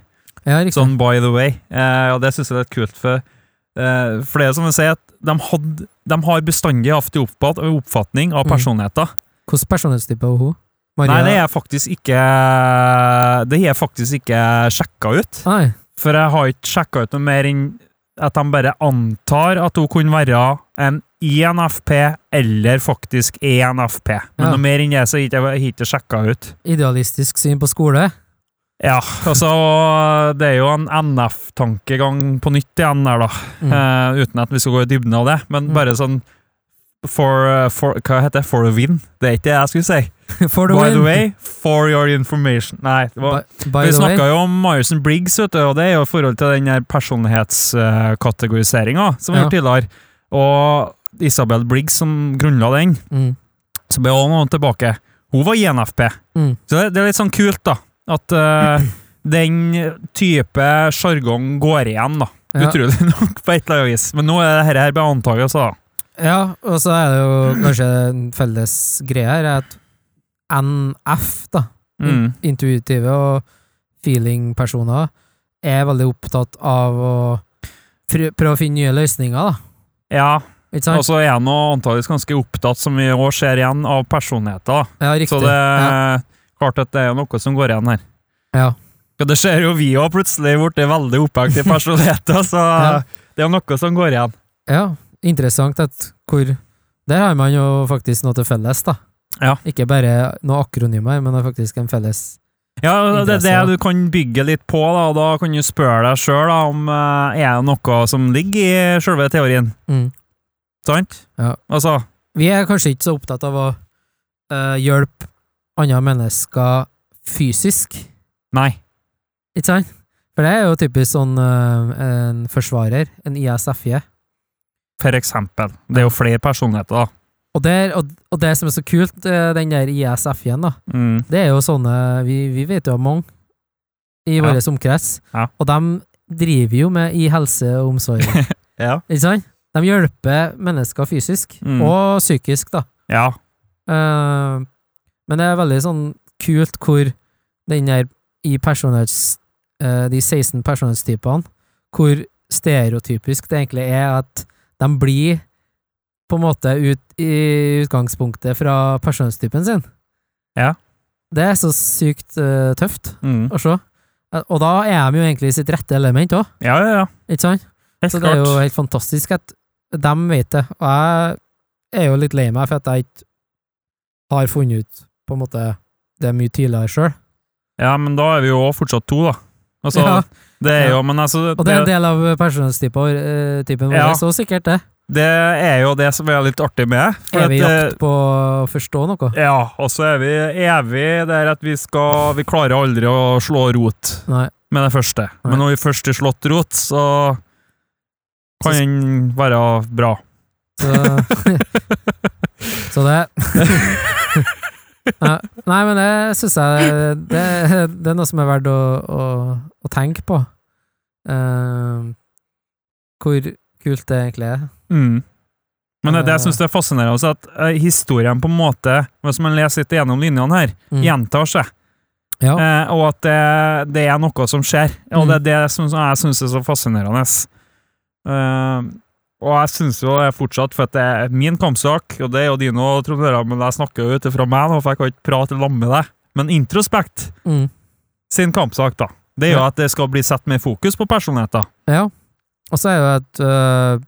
Speaker 1: Ja, riktig.
Speaker 2: Sånn by the way. Eh, og det syns jeg er litt kult. For, eh, for det er som jeg sier, at de, hadde, de har bestandig hatt en oppfatt, oppfatning av
Speaker 1: Mm.
Speaker 2: personligheter.
Speaker 1: Hvilken personlighetstype er hun? Maria?
Speaker 2: Nei, det er faktisk ikke Det er faktisk ikke sjekka ut.
Speaker 1: Nei.
Speaker 2: For jeg har ikke sjekka ut noe mer enn at de bare antar at hun kunne være en E INFP eller faktisk E ENFP. Men
Speaker 1: Ja.
Speaker 2: noe mer enn det så har jeg ikke- har jeg ikke sjekka ut.
Speaker 1: Idealistisk syn på skole?
Speaker 2: Ja, altså Det er jo en NF-tankegang på nytt igjen der, da.
Speaker 1: Mm.
Speaker 2: Eh, uten at vi skal gå i dybden av det, men
Speaker 1: Mm.
Speaker 2: bare sånn for, uh, for Hva heter det? For a win? Det er ikke det jeg skulle si.
Speaker 1: For the
Speaker 2: Eh, By
Speaker 1: win.
Speaker 2: the way, for your information. Nei, det var
Speaker 1: By, by
Speaker 2: vi
Speaker 1: the way.
Speaker 2: snakka jo om Myerson Briggs, vet du, og det er jo i forhold til den her personlighetskategoriseringa som vi
Speaker 1: Ja.
Speaker 2: har gjort tidligere. Og Isabel Briggs som grunnla den,
Speaker 1: Mm,
Speaker 2: så ble hun noen tilbake. Hun var INFP.
Speaker 1: mm,
Speaker 2: Så det, det er litt sånn kult, da. At eh, den type sjargong går igjen, da.
Speaker 1: ja.
Speaker 2: Utrolig nok, på et eller annet vis. Men nå er det dette her bare altså. antagelser, da.
Speaker 1: ja, og så er det jo kanskje en felles greie her, er at NF, da,
Speaker 2: Mm.
Speaker 1: in- intuitive og feeling-personer, er veldig opptatt av å fr- prøve å finne nye løsninger, da.
Speaker 2: Ja,
Speaker 1: Ikke sant?
Speaker 2: og så er han nå antageligvis ganske opptatt, som vi òg ser igjen, av personligheter. da.
Speaker 1: ja, riktig.
Speaker 2: Så det
Speaker 1: ja.
Speaker 2: er klart at det er noe som går igjen her.
Speaker 1: Ja.
Speaker 2: Ja, det ser jo vi òg plutselig blitt veldig opphengt i personligheter, så
Speaker 1: Ja.
Speaker 2: det er noe som går igjen.
Speaker 1: ja, interessant at hvor Der har man jo faktisk noe til felles, da.
Speaker 2: Ja.
Speaker 1: Ikke bare noen akronymer, men det er faktisk en felles
Speaker 2: Ja, Det er det
Speaker 1: Interesse, ja.
Speaker 2: du kan bygge litt på, da, og da kan du spørre deg sjøl om eh, er det noe som ligger i sjølve teorien.
Speaker 1: mm.
Speaker 2: Sant?
Speaker 1: Ja.
Speaker 2: Altså,
Speaker 1: Vi er kanskje ikke så opptatt av å eh, hjelpe andre mennesker fysisk,
Speaker 2: nei.
Speaker 1: ikke sant? For det er jo typisk sånn eh, en forsvarer, en ISF-je.
Speaker 2: For eksempel. Det er jo flere personligheter, da.
Speaker 1: Og, der- og, og det som er så kult, eh, den der ISF-en, da,
Speaker 2: Mm.
Speaker 1: det er jo sånne Vi, vi vet jo om mange i
Speaker 2: Ja.
Speaker 1: vår omkrets,
Speaker 2: Ja.
Speaker 1: og de driver jo med i helse og omsorg,
Speaker 2: Ja.
Speaker 1: ikke sant? De hjelper mennesker fysisk,
Speaker 2: Mm.
Speaker 1: og psykisk, da.
Speaker 2: ja.
Speaker 1: Eh, men det er veldig sånn kult hvor den der i personlighets... eh, de 16 personlighetstypene, hvor stereotypisk det egentlig er at de blir på en måte ut i utgangspunktet fra personlighetstypen sin.
Speaker 2: Ja.
Speaker 1: Det er så sykt eh, tøft
Speaker 2: Mm.
Speaker 1: å se. Eh, Og da er de jo egentlig i sitt rette element òg,
Speaker 2: ja, ja, ja.
Speaker 1: ikke sant?
Speaker 2: Helt
Speaker 1: Så det er
Speaker 2: klart.
Speaker 1: jo helt fantastisk at de vet det. Og jeg er jo litt lei meg for at jeg ikke har funnet ut på en måte det mye tidligere sjøl.
Speaker 2: Ja, men da er vi jo også fortsatt to, da. Altså,
Speaker 1: Ja.
Speaker 2: det
Speaker 1: Ja.
Speaker 2: er jo, men altså,
Speaker 1: Og det er en del av personlighetstypen eh, vår,
Speaker 2: Ja.
Speaker 1: så sikkert det.
Speaker 2: det er jo det som er litt artig med. for
Speaker 1: Er vi i
Speaker 2: at, eh,
Speaker 1: jakt på å forstå noe?
Speaker 2: Ja, og så er vi evig der at vi skal Vi klarer aldri å slå rot
Speaker 1: Nei.
Speaker 2: med det første. Men når vi først har slått rot, så kan den være bra.
Speaker 1: Så, så det Ja. Nei, men det syns jeg det, det er noe som er verdt å, å, å tenke på. Eh, hvor kult det egentlig er.
Speaker 2: Mm. Men det, det
Speaker 1: Eh.
Speaker 2: jeg syns er fascinerende, også, at eh, historien på en måte, hvis man leser litt gjennom linjene her,
Speaker 1: Mm.
Speaker 2: gjentar seg.
Speaker 1: Ja. Mm.
Speaker 2: Eh, og at det, det er noe som skjer. Og det er det som jeg syns er så fascinerende. Eh, og jeg syns jo det er fortsatt, for at det er min kampsak, og det er jo dine og Trond Øra, men jeg snakker jo ut ifra meg nå, for jeg kan ikke prate sammen med deg. Men Introspekt
Speaker 1: Mm.
Speaker 2: sin kampsak, da, det er jo
Speaker 1: Ja.
Speaker 2: at det skal bli satt mer fokus på personligheter.
Speaker 1: Ja. Og så er jo at øh,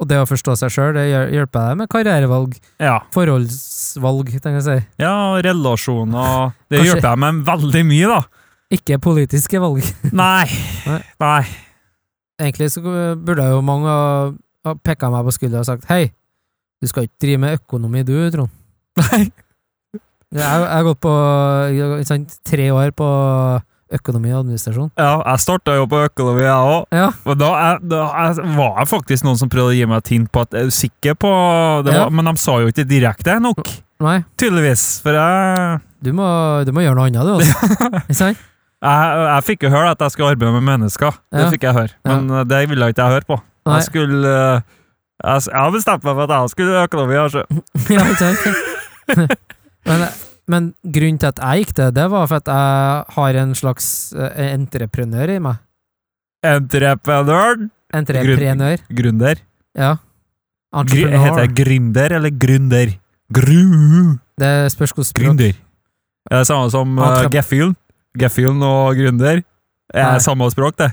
Speaker 1: Og det å forstå seg sjøl, det hjel- hjelper deg med karrierevalg.
Speaker 2: Ja.
Speaker 1: Forholdsvalg, tenker jeg å si.
Speaker 2: ja og relasjoner Det
Speaker 1: Kanskje-
Speaker 2: hjelper jeg med veldig mye, da.
Speaker 1: Ikke politiske valg.
Speaker 2: Nei.
Speaker 1: Nei.
Speaker 2: Nei.
Speaker 1: Egentlig så burde jo mange ha- ha pekka meg på skuldra og sagt Hei, du skal ikke drive med økonomi du, Trond.
Speaker 2: Nei.
Speaker 1: Jeg, jeg har gått på ikke sant, tre år på økonomi og administrasjon.
Speaker 2: Ja, jeg starta jo på økonomi, jeg òg.
Speaker 1: Ja.
Speaker 2: Og da, er- da er- var det faktisk noen som prøvde å gi meg et hint på at jeg er sikker på det
Speaker 1: Ja.
Speaker 2: var, Men de sa jo ikke direkte nok,
Speaker 1: Nei,
Speaker 2: tydeligvis. For jeg,
Speaker 1: du må, du må gjøre noe annet, du, altså. Ikke sant?
Speaker 2: jeg, jeg fikk jo høre at jeg skulle arbeide med mennesker.
Speaker 1: Ja.
Speaker 2: Det fikk jeg høre.
Speaker 1: Ja.
Speaker 2: Men eh, det ville ikke jeg høre på.
Speaker 1: Nei.
Speaker 2: Jeg skulle eh, jeg, s- jeg har bestemt meg for at jeg skulle økonomi. Altså.
Speaker 1: ja, ikke sant? men, men grunnen til at jeg gikk det, det var for at jeg har en slags eh, entreprenør i meg.
Speaker 2: Entreprenør.
Speaker 1: Entreprenør.
Speaker 2: Gründer.
Speaker 1: Ja.
Speaker 2: Gry, heter
Speaker 1: Entreprenør.
Speaker 2: det gründer eller gründer? Gru...
Speaker 1: Det spørs hvordan språk.
Speaker 2: Gründer. Det er det samme som
Speaker 1: Entrep-
Speaker 2: uh, Gefühlen. Gefühlen og gründer er
Speaker 1: Nei.
Speaker 2: samme språk, det.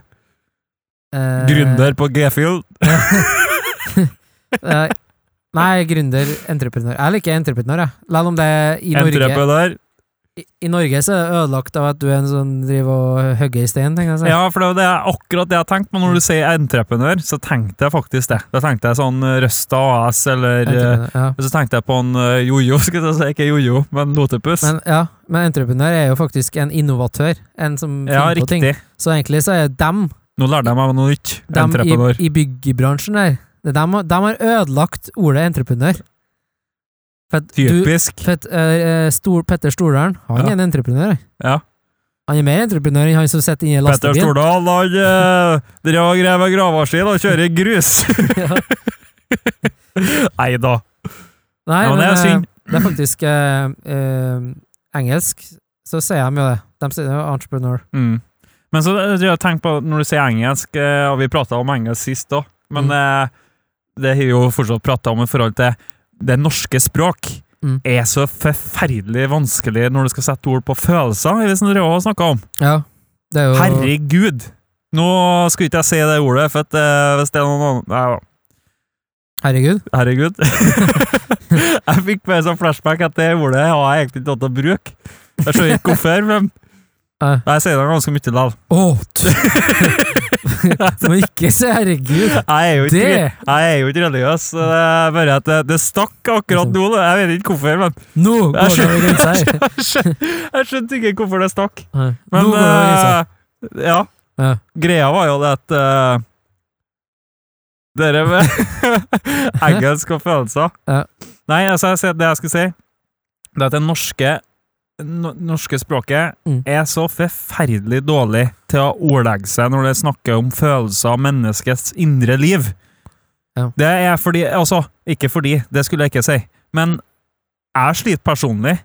Speaker 1: Eh,
Speaker 2: Gründer på Gefühl.
Speaker 1: eh, nei, gründer, entreprenør. Jeg liker entreprenør, jeg. Selv om det er i Norge
Speaker 2: Entreprenør.
Speaker 1: I, I Norge så er det ødelagt av at du er en sånn driver og hugger i stein, tenker jeg. å si.
Speaker 2: Ja, for det er jo det jeg- akkurat det jeg tenkte, men når du sier entreprenør, så tenkte jeg faktisk det. Da tenkte jeg sånn eh, Røsta AS, eller eh,
Speaker 1: Entreprenør, ja.
Speaker 2: Så tenkte jeg på en eh, jojo, skulle jeg si. Ikke jojo, men Lotepus.
Speaker 1: Men, ja, men entreprenør er jo faktisk en innovatør. En som
Speaker 2: ja,
Speaker 1: finner på ting.
Speaker 2: riktig.
Speaker 1: Så egentlig så er det dem,
Speaker 2: Nå lærte jeg meg noe nytt.
Speaker 1: dem i,
Speaker 2: Entreprenør.
Speaker 1: i byggebransjen der. Det er dem, dem har ødelagt ordet entreprenør. For at du,
Speaker 2: Typisk.
Speaker 1: for at, eh, Stor, Petter Stordalen, han
Speaker 2: Ja.
Speaker 1: er en entreprenør. han.
Speaker 2: Ja.
Speaker 1: Han er mer entreprenør enn han som sitter inni
Speaker 2: Petter
Speaker 1: lastebilen.
Speaker 2: Stordal han eh, drev og grev gravemaskin og kjører grus.
Speaker 1: Ja.
Speaker 2: Nei da.
Speaker 1: Nei,
Speaker 2: Ja,
Speaker 1: men,
Speaker 2: det er
Speaker 1: eh,
Speaker 2: synd.
Speaker 1: Det er faktisk eh, eh, engelsk, så sier de jo det. De sier jo entreprenør.
Speaker 2: Mm. Men så eh, jeg tenker på når du sier engelsk, eh, og vi prata om engelsk sist òg,
Speaker 1: Mm.
Speaker 2: men eh, det har vi jo fortsatt prata om i forhold til det norske språk.
Speaker 1: Mm.
Speaker 2: Er så forferdelig vanskelig når du skal sette ord på følelser, er det som Røa snakka om.
Speaker 1: Ja, det er jo
Speaker 2: Herregud! Nå skulle ikke jeg si det ordet, for at, eh, hvis det er noen annen Nei,
Speaker 1: Herregud.
Speaker 2: Herregud. jeg fikk bare sånn flashback at det ordet har jeg egentlig ikke hatt å bruke. Jeg skjønner ikke hvorfor, men
Speaker 1: Eh,
Speaker 2: jeg sier det ganske mye likevel.
Speaker 1: Å, t- må ikke si herregud!
Speaker 2: Jeg er jo ikke,
Speaker 1: Det
Speaker 2: jeg er jo ikke religiøs, så det er bare at det, det stakk akkurat nå. da. Jeg vet ikke hvorfor, men
Speaker 1: Altså- Nå går
Speaker 2: Jeg
Speaker 1: det over grensa her!
Speaker 2: jeg skjønte, jeg skjønte ikke hvorfor det stakk.
Speaker 1: Nei,
Speaker 2: Men
Speaker 1: Nå går det over grensa.
Speaker 2: eh, ja,
Speaker 1: Ja.
Speaker 2: greia var jo det at eh, Dere med engelsk og følelser
Speaker 1: Ja.
Speaker 2: Nei, altså, jeg sier- det jeg skulle si, det er at det norske, no, norske språket
Speaker 1: Mm.
Speaker 2: er så forferdelig dårlig til å ordlegge seg når det snakker om følelser og menneskets indre liv.
Speaker 1: Ja.
Speaker 2: Det er fordi Altså, ikke fordi, det skulle jeg ikke si, men jeg sliter personlig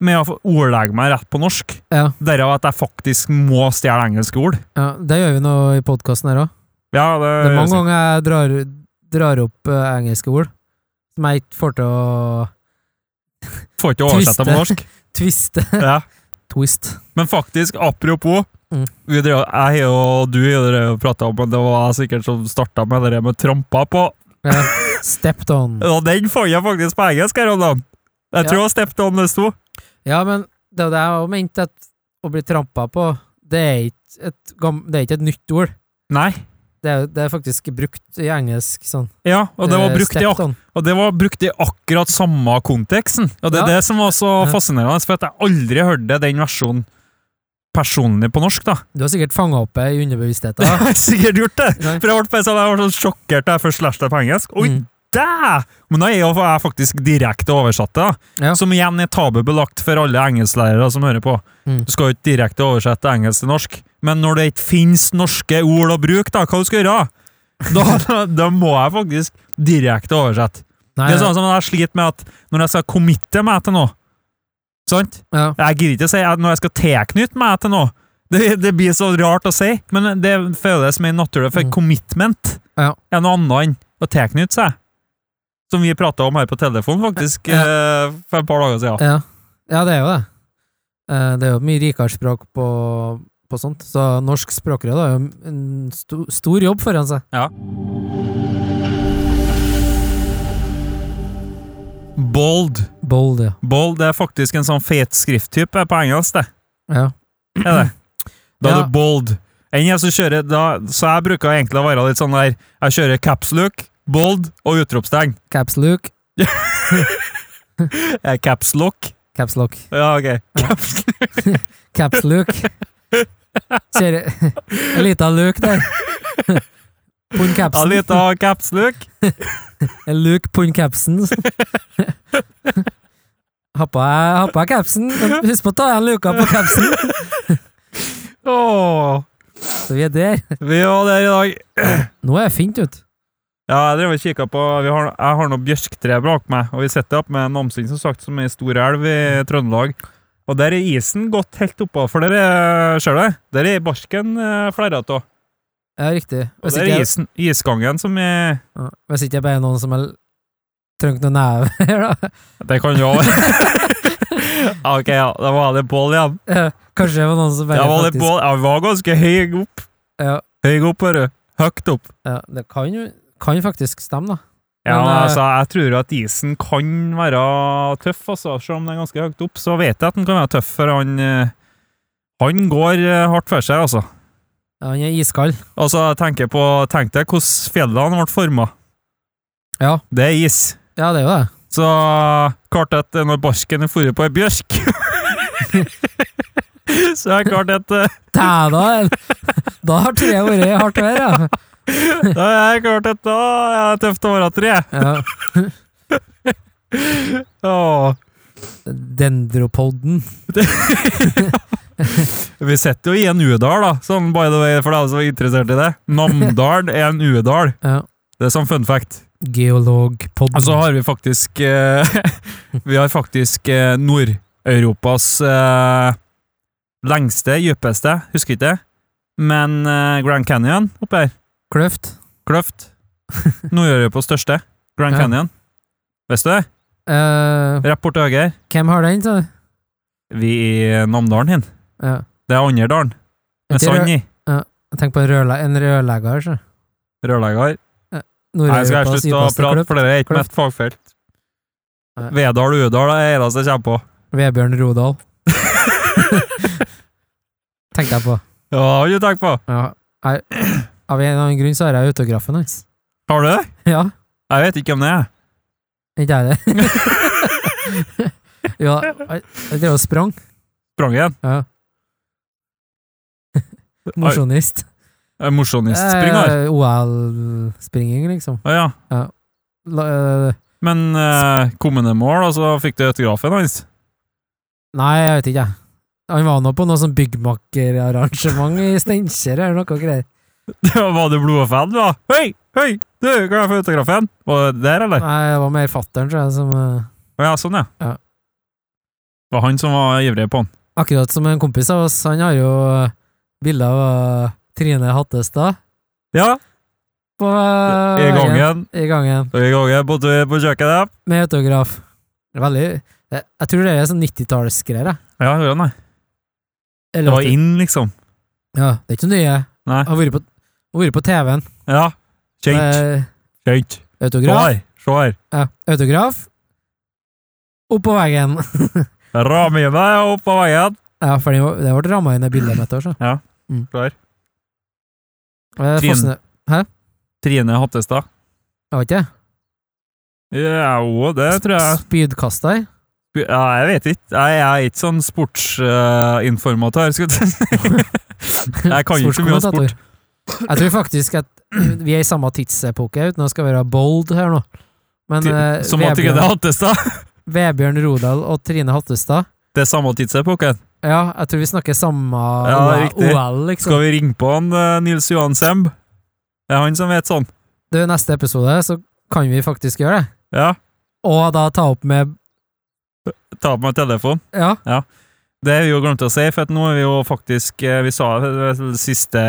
Speaker 2: med å få ordlegge meg rett på norsk.
Speaker 1: Ja.
Speaker 2: Derav at jeg faktisk må stjele engelske ord.
Speaker 1: Ja, det gjør vi nå i podkasten her òg.
Speaker 2: Ja, det,
Speaker 1: Det er mange ganger jeg drar, drar opp eh, engelske ord som jeg ikke får til å
Speaker 2: Får ikke oversette det på norsk.
Speaker 1: twiste.
Speaker 2: Ja.
Speaker 1: Twist.
Speaker 2: Men faktisk, apropos
Speaker 1: Mm.
Speaker 2: vi drev, Jeg har jo du har jo prata om, men det var jeg sikkert som starta med det der med trampa på.
Speaker 1: Ja. Stepped on.
Speaker 2: Og den fant jeg faktisk på engelsk her om dagen. Jeg
Speaker 1: Ja.
Speaker 2: tror jeg steppet om det sto.
Speaker 1: Ja, men det er jo det jeg òg mente, at å bli trampa på, det er ikke et, gam- det er ikke et nytt ord.
Speaker 2: Nei.
Speaker 1: Det er, jo- det er faktisk brukt i engelsk sånn.
Speaker 2: Ja, og det var
Speaker 1: Eh,
Speaker 2: brukt i, ak
Speaker 1: stepped on.
Speaker 2: og det var brukt i akkurat samme konteksten. Og det er
Speaker 1: Ja.
Speaker 2: det som var så
Speaker 1: Ja.
Speaker 2: fascinerende, for at jeg aldri hørte den versjonen personlig på norsk, da.
Speaker 1: Du har sikkert fanga opp det i underbevisstheten.
Speaker 2: Jeg
Speaker 1: da.
Speaker 2: har sikkert gjort det!
Speaker 1: Nei.
Speaker 2: For jeg ble, sånn, jeg ble sånn sjokkert da jeg først lærte det på engelsk. Oi,
Speaker 1: Mm.
Speaker 2: dæ! Men da er jo jeg faktisk direkte oversatt det, da.
Speaker 1: Ja.
Speaker 2: Som igjen er tabubelagt for alle engelsklærere som hører på.
Speaker 1: Mm.
Speaker 2: Du skal jo ikke direkte oversette engelsk til norsk. Men når det ikke finnes norske ord å bruke, da, hva du skal gjøre? Da, da må jeg faktisk direkte oversette.
Speaker 1: Nei,
Speaker 2: Det er sånn som jeg sliter med at når jeg skal committe meg til noe Sant?
Speaker 1: ja.
Speaker 2: Jeg gidder ikke å si at når jeg skal tilknytte meg til noe. Det, det blir så rart å si, men det føles mer naturlig, for
Speaker 1: Mm.
Speaker 2: commitment
Speaker 1: Ja.
Speaker 2: er noe annet enn å tilknytte seg. Som vi prata om her på telefon faktisk eh, for et par dager siden.
Speaker 1: Ja. ja, det er jo det. Eh, Det er jo et mye rikere språk på, på sånt, så norsk språkråd har jo en sto, stor jobb foran seg.
Speaker 2: Bold.
Speaker 1: Bold, ja.
Speaker 2: Bold det er faktisk en sånn fet skrifttype på engelsk, det.
Speaker 1: ja.
Speaker 2: Er det? Da
Speaker 1: Ja.
Speaker 2: er du bold. Enn jeg som kjører, da, så jeg bruker egentlig å være litt sånn der Jeg kjører caps look, bold og utropstegn.
Speaker 1: Caps look.
Speaker 2: Eh, Caps lock.
Speaker 1: Caps lock.
Speaker 2: Ja, ok. Caps
Speaker 1: Caps look. Ser du En liten look der. Pund
Speaker 2: Ja,
Speaker 1: capsen.
Speaker 2: litt av caps look.
Speaker 1: En Luke pund capsen. Ha på deg- ha på deg capsen, men husk på å ta igjen luka på capsen.
Speaker 2: Åh,
Speaker 1: Så vi er der.
Speaker 2: vi var der i dag.
Speaker 1: Nå er jeg fint ut.
Speaker 2: Ja, jeg drev og kikket på, vi har, jeg har noe bjørktre bak meg, og vi setter opp med Namsen, som sagt, som er i stor elv i Trøndelag. Og der er isen gått helt oppå, for der er, ser du det? Der er barsken eh, flerret av.
Speaker 1: Ja, riktig.
Speaker 2: Og
Speaker 1: Hvis
Speaker 2: der er
Speaker 1: ikke,
Speaker 2: isen, isgangen som er...
Speaker 1: ja, hvis ikke jeg bare er noen som har trengt noen neve her, da.
Speaker 2: Det kan jo... ok, ja, det var litt bål igjen.
Speaker 1: Ja, Kanskje det var noen som
Speaker 2: Det
Speaker 1: bare
Speaker 2: var litt
Speaker 1: faktisk
Speaker 2: bål, ja, vi var ganske høy opp.
Speaker 1: ja,
Speaker 2: Høy opp, hører du. Høgt opp.
Speaker 1: ja, Det kan jo kan faktisk stemme, da.
Speaker 2: Ja,
Speaker 1: Men,
Speaker 2: men,
Speaker 1: eh,
Speaker 2: altså, jeg tror at isen kan være tøff, altså. Selv om den er ganske høyt opp, så vet jeg at den kan være tøff, for han eh, Han går eh, hardt for seg, altså.
Speaker 1: Ja, han er iskald.
Speaker 2: Altså, jeg tenker på Tenk deg hvordan fjellene ble forma.
Speaker 1: Ja.
Speaker 2: Det er is.
Speaker 1: Ja, det er jo det.
Speaker 2: Så klart at eh, når barken er fôret på ei bjørk Så er det klart at eh,
Speaker 1: Tæ, da, da har treet vært hardt vær, ja.
Speaker 2: Da er det klart at da er det tøft å være tre.
Speaker 1: ja.
Speaker 2: Åh.
Speaker 1: Dendropodden.
Speaker 2: Vi sitter jo i en udal, da, sånn by the way, for deg som er interessert i det. Namdalen er en udal.
Speaker 1: Ja.
Speaker 2: Det er sånn fun fact.
Speaker 1: Geologpodden.
Speaker 2: Og så Altså, har vi faktisk eh, Vi har faktisk eh, Nord-Europas eh, lengste, dypeste, husker ikke det, men eh, Grand Canyon oppe her.
Speaker 1: Kløft.
Speaker 2: Kløft. Nord-Europas største. Grand
Speaker 1: Ja.
Speaker 2: Canyon. Visste du det?
Speaker 1: Eh,
Speaker 2: Rett bort til høyre.
Speaker 1: hvem har den, sa du?
Speaker 2: Vi er i Namdalen hin.
Speaker 1: Ja.
Speaker 2: Det er andre dalen, med
Speaker 1: Ikke
Speaker 2: sand i.
Speaker 1: Tenk på en rørle en rørlegger, altså. så.
Speaker 2: Rørlegger. Nei, jeg skal jeg
Speaker 1: Nord-Europas
Speaker 2: slutte å
Speaker 1: dypeste
Speaker 2: prate,
Speaker 1: kløft.
Speaker 2: for det er ikke
Speaker 1: Kløft.
Speaker 2: mitt fagfelt.
Speaker 1: Nei.
Speaker 2: Vedal og Udal er det eneste jeg kommer på.
Speaker 1: Vebjørn Rodal, tenkte jeg på.
Speaker 2: Ja, det har du tenkt på?
Speaker 1: Ja. Jeg, av en eller annen grunn så har jeg autografen hans.
Speaker 2: Har du det?
Speaker 1: Ja,
Speaker 2: Jeg vet ikke hvem det er.
Speaker 1: ikke jeg det? ja, jeg jeg drev og sprang.
Speaker 2: Sprang igjen.
Speaker 1: Ja. Mosjonist.
Speaker 2: Er det Mosjonist-springer.
Speaker 1: Eh, OL-springing, liksom.
Speaker 2: Å ja.
Speaker 1: La, eh,
Speaker 2: Men eh, kommende mål, og så fikk du autografen hans.
Speaker 1: nei, jeg vet ikke, jeg. Han var nå på noe sånn byggmakerarrangement i Steinkjer eller noe greier.
Speaker 2: Var du blodfan, da? Hei, hei, du, kan jeg få autografen? Var det der, eller?
Speaker 1: Nei, det var mer fatteren, tror jeg, som eh,
Speaker 2: Å ja, sånn, ja.
Speaker 1: Ja.
Speaker 2: Det var han som var ivrig på han.
Speaker 1: Akkurat som en kompis av oss, han har jo eh, bilder av eh, Trine Hattestad
Speaker 2: Ja,
Speaker 1: på
Speaker 2: i
Speaker 1: eh, veggen.
Speaker 2: gangen.
Speaker 1: I gangen.
Speaker 2: I gangen på, på kjøkkenet.
Speaker 1: Med autograf. Det er Veldig Jeg, jeg tror det er sånn 90-tallsgreier, jeg.
Speaker 2: Ja, jeg hører han, jeg.
Speaker 1: Eller
Speaker 2: Det var
Speaker 1: åtti-
Speaker 2: inn, liksom.
Speaker 1: Ja, det er ikke noe nye.
Speaker 2: Nei.
Speaker 1: Har vært på, har vært på TV-en.
Speaker 2: Ja. Kjent,
Speaker 1: Eh,
Speaker 2: kjent. Se
Speaker 1: autograf.
Speaker 2: her, se her.
Speaker 1: Ja, autograf. Opp på veggen.
Speaker 2: Ramine er oppe av veien.
Speaker 1: Ja, for det var- det ble ramma inn i bildet mitt. Også.
Speaker 2: Ja,
Speaker 1: Mm.
Speaker 2: klar.
Speaker 1: Eh,
Speaker 2: Trine.
Speaker 1: Fossene-
Speaker 2: Trine Hattestad.
Speaker 1: Jeg vet ikke.
Speaker 2: Ja, jo, det tror jeg.
Speaker 1: Spydkaster.
Speaker 2: Ja, jeg vet ikke. Jeg jeg er ikke sånn sportsinformatør. jeg kan jo ikke mye om
Speaker 1: Sportskommentator.
Speaker 2: sport.
Speaker 1: Jeg tror faktisk at vi er i samme tidsepoke, uten å skal være bold her nå. Men eh,
Speaker 2: Som at ikke det
Speaker 1: Vebjørn,
Speaker 2: er Hattestad.
Speaker 1: Vebjørn Rodal og Trine Hattestad
Speaker 2: Det er samme tidsepoken.
Speaker 1: Ja, jeg tror vi snakker samme
Speaker 2: Ja,
Speaker 1: OL-
Speaker 2: riktig.
Speaker 1: OL, liksom.
Speaker 2: Skal vi ringe på han, eh, Nils Johan Semb? Det er han som vet sånn.
Speaker 1: Du, neste episode så kan vi faktisk gjøre det.
Speaker 2: Ja,
Speaker 1: Og da ta opp med
Speaker 2: ta på meg telefonen.
Speaker 1: Ja,
Speaker 2: Det har vi jo glemt å si, for at nå er vi jo faktisk eh, Vi sa det vel siste,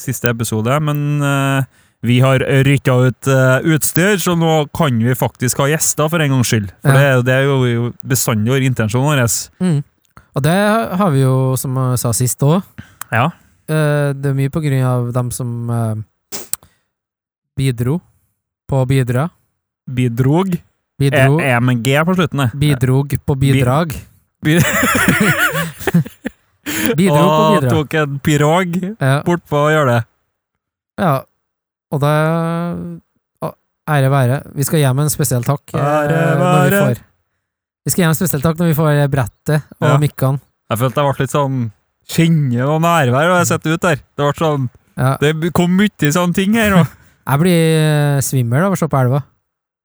Speaker 2: siste episode, men eh, vi har rykka ut eh, utstyr, så nå kan vi faktisk ha gjester for en gangs skyld. For
Speaker 1: Ja.
Speaker 2: det, er jo- det er jo- jo bestandig vår intensjon vår.
Speaker 1: Mm. Og det har vi jo, som jeg sa sist òg,
Speaker 2: Ja.
Speaker 1: det er mye på grunn av dem som eh, bidro på å bidra.
Speaker 2: Bidrog.
Speaker 1: Bidro,
Speaker 2: E EMG på slutten, det.
Speaker 1: bidrog på bidrag.
Speaker 2: Bi-
Speaker 1: bidro på
Speaker 2: Og
Speaker 1: bidrag.
Speaker 2: tok en pirog
Speaker 1: Ja,
Speaker 2: bortpå og gjør det.
Speaker 1: ja. Og det å, Ære være. Vi skal gi dem en spesiell takk. eh,
Speaker 2: Ære
Speaker 1: når vi
Speaker 2: være.
Speaker 1: får Vi skal gi dem en spesiell takk når vi får brettet og
Speaker 2: Ja.
Speaker 1: mikkene.
Speaker 2: Jeg følte jeg ble litt sånn Kjenne noe nærvær, og jeg setter ut der. Det ble sånn
Speaker 1: Ja.
Speaker 2: Det kom mye sånne ting her. nå.
Speaker 1: Jeg blir eh, svimmel av å se på elva.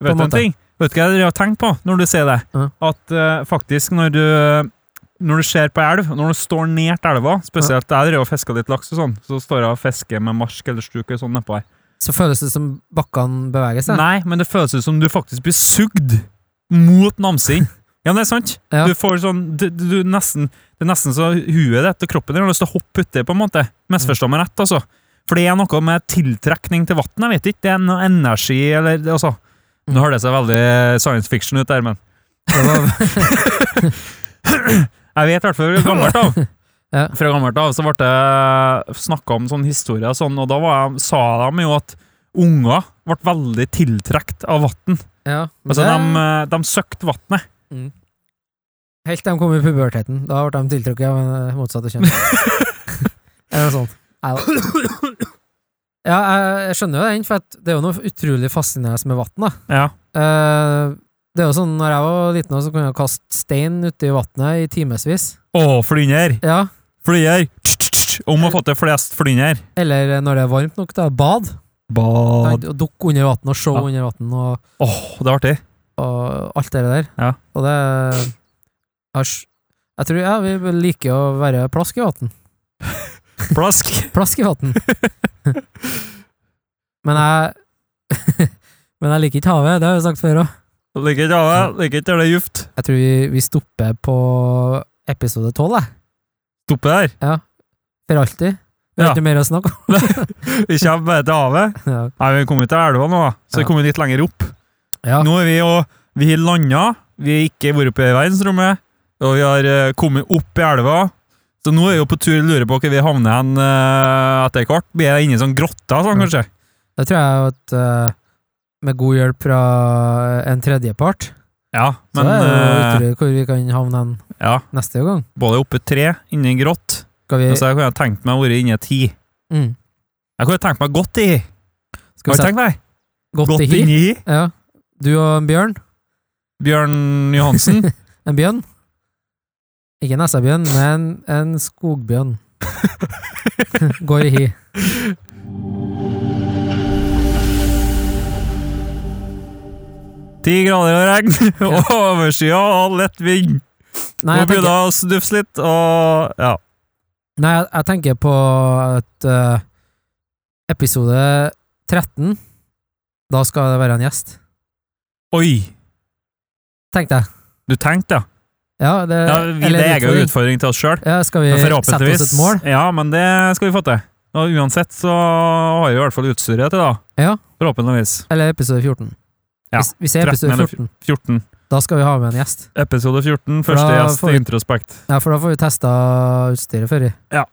Speaker 2: Vet du
Speaker 1: en
Speaker 2: en
Speaker 1: måte.
Speaker 2: ting? Vet du hva jeg har tenkt på når du sier det?
Speaker 1: Ja.
Speaker 2: At eh, faktisk når du når du ser på elv, når du står nært elva Spesielt jeg driver og fisker litt laks og sånn, så står jeg og fisker med marsk eller stuk og sånn nedpå her.
Speaker 1: Så føles det som bakkene beveger seg.
Speaker 2: Nei, men det føles ut som du faktisk blir sugd mot namsing. Ja, men det er sant.
Speaker 1: Ja.
Speaker 2: Du får sånn du, du, du nesten, Det er nesten så huet ditt og kroppen din har lyst til å hoppe uti, på en måte. Misforstå meg rett, altså. For det er noe med tiltrekning til vann, jeg vet ikke. Det er noe energi, eller det- altså.
Speaker 1: Mm.
Speaker 2: Nå hører det seg veldig science fiction ut der, men
Speaker 1: Det var
Speaker 2: Jeg vet i hvert fall fra gammelt av.
Speaker 1: Ja.
Speaker 2: Fra gammelt av så ble det snakka om sånn historie og sånn, og da var jeg, sa de jo at unger ble veldig tiltrukket av vann.
Speaker 1: Ja, men
Speaker 2: Altså,
Speaker 1: det-
Speaker 2: de, eh, de søkte vannet.
Speaker 1: Helt til de kom i puberteten. Da ble de tiltrukket av en eh, motsatte kjønn. Eller noe sånt. Nei da. Ja, jeg- jeg skjønner jo den, for at det er jo noe utrolig fascinerende med vann. da.
Speaker 2: Ja.
Speaker 1: Eh, Det er jo sånn, når jeg var liten, også, så kunne jeg kaste stein uti vannet i timevis.
Speaker 2: Å, flynder!
Speaker 1: Ja.
Speaker 2: Flynder! Tss, tss, tss. Om å få til flest flynder.
Speaker 1: Eller eh, når det er varmt nok, da. Bad. Å
Speaker 2: Bad.
Speaker 1: dukke under vann og se
Speaker 2: Ja.
Speaker 1: under vann og,
Speaker 2: Åh, det er artig.
Speaker 1: og alt det der.
Speaker 2: Ja.
Speaker 1: Og det jeg s- Jeg tror ja, vi liker å være plask i vann.
Speaker 2: Plask.
Speaker 1: Plask i vann. men jeg Men jeg liker ikke havet, det har jeg jo sagt før òg.
Speaker 2: Liker ikke av det. Liker ikke det juft.
Speaker 1: Jeg tror vi, vi stopper på episode tolv, jeg.
Speaker 2: Stoppe der.
Speaker 1: For alltid. Vi har
Speaker 2: Ja.
Speaker 1: ikke mer å snakke om.
Speaker 2: Vi kommer bare til havet.
Speaker 1: ja.
Speaker 2: Nei, vi kom til elva nå, da. Så vi
Speaker 1: Ja.
Speaker 2: kom litt lenger opp.
Speaker 1: Ja.
Speaker 2: Nå er vi jo Vi har landa. Vi har ikke vært oppe i verdensrommet. Og vi har eh, kommet opp i elva. Så nå er vi jo på tur og lurer på hvor vi havner hen eh, etter hvert. Blir det inni sånn grotta sånn,
Speaker 1: Ja.
Speaker 2: kanskje?
Speaker 1: Da tror jeg at eh, med god hjelp fra eh, en tredjepart,
Speaker 2: Ja,
Speaker 1: så er
Speaker 2: men
Speaker 1: det jo
Speaker 2: eh,
Speaker 1: utrolig hvor vi kan havne hen
Speaker 2: ja,
Speaker 1: neste gang.
Speaker 2: både oppe i tre, inni grått.
Speaker 1: Skal vi,
Speaker 2: Og så jeg kunne jeg tenkt meg å være inni et hi.
Speaker 1: mm,
Speaker 2: Jeg kunne tenkt meg godt i hi.
Speaker 1: skal vi
Speaker 2: Har du
Speaker 1: sette
Speaker 2: tenkt deg?
Speaker 1: godt
Speaker 2: Godt
Speaker 1: i hi?
Speaker 2: inni hi.
Speaker 1: Ja. Du og en bjørn?
Speaker 2: Bjørn Johansen.
Speaker 1: En bjørn? Ikke en SR-bjørn, men en skogbjørn. Går i hi.
Speaker 2: Ti grader og regn, og overskya og lett vind.
Speaker 1: Nei,
Speaker 2: Nå
Speaker 1: jeg tenker,
Speaker 2: begynner det å snufse litt, og ja.
Speaker 1: nei, jeg- jeg tenker på at eh, episode 13 Da skal det være en gjest.
Speaker 2: Oi!
Speaker 1: Tenkte jeg.
Speaker 2: Du tenkte, ja.
Speaker 1: Ja, det,
Speaker 2: ja vi,
Speaker 1: Eh, eller
Speaker 2: det er jo
Speaker 1: utfordring.
Speaker 2: en utfordring til oss sjøl.
Speaker 1: Ja, skal vi sette oss et mål?
Speaker 2: Ja, men det skal vi få til. Og uansett så har vi i hvert fall utstyret til det.
Speaker 1: Ja.
Speaker 2: Forhåpentligvis.
Speaker 1: Eller episode 14?
Speaker 2: Ja,
Speaker 1: Hvis, hvis det er
Speaker 2: 13
Speaker 1: episode
Speaker 2: eller
Speaker 1: 14,
Speaker 2: 14.
Speaker 1: da skal vi ha med en gjest.
Speaker 2: Episode 14,
Speaker 1: For da
Speaker 2: første gjest
Speaker 1: får
Speaker 2: i
Speaker 1: vi-
Speaker 2: Introspekt.
Speaker 1: Ja, for da får vi testa utstyret før. i.
Speaker 2: Ja.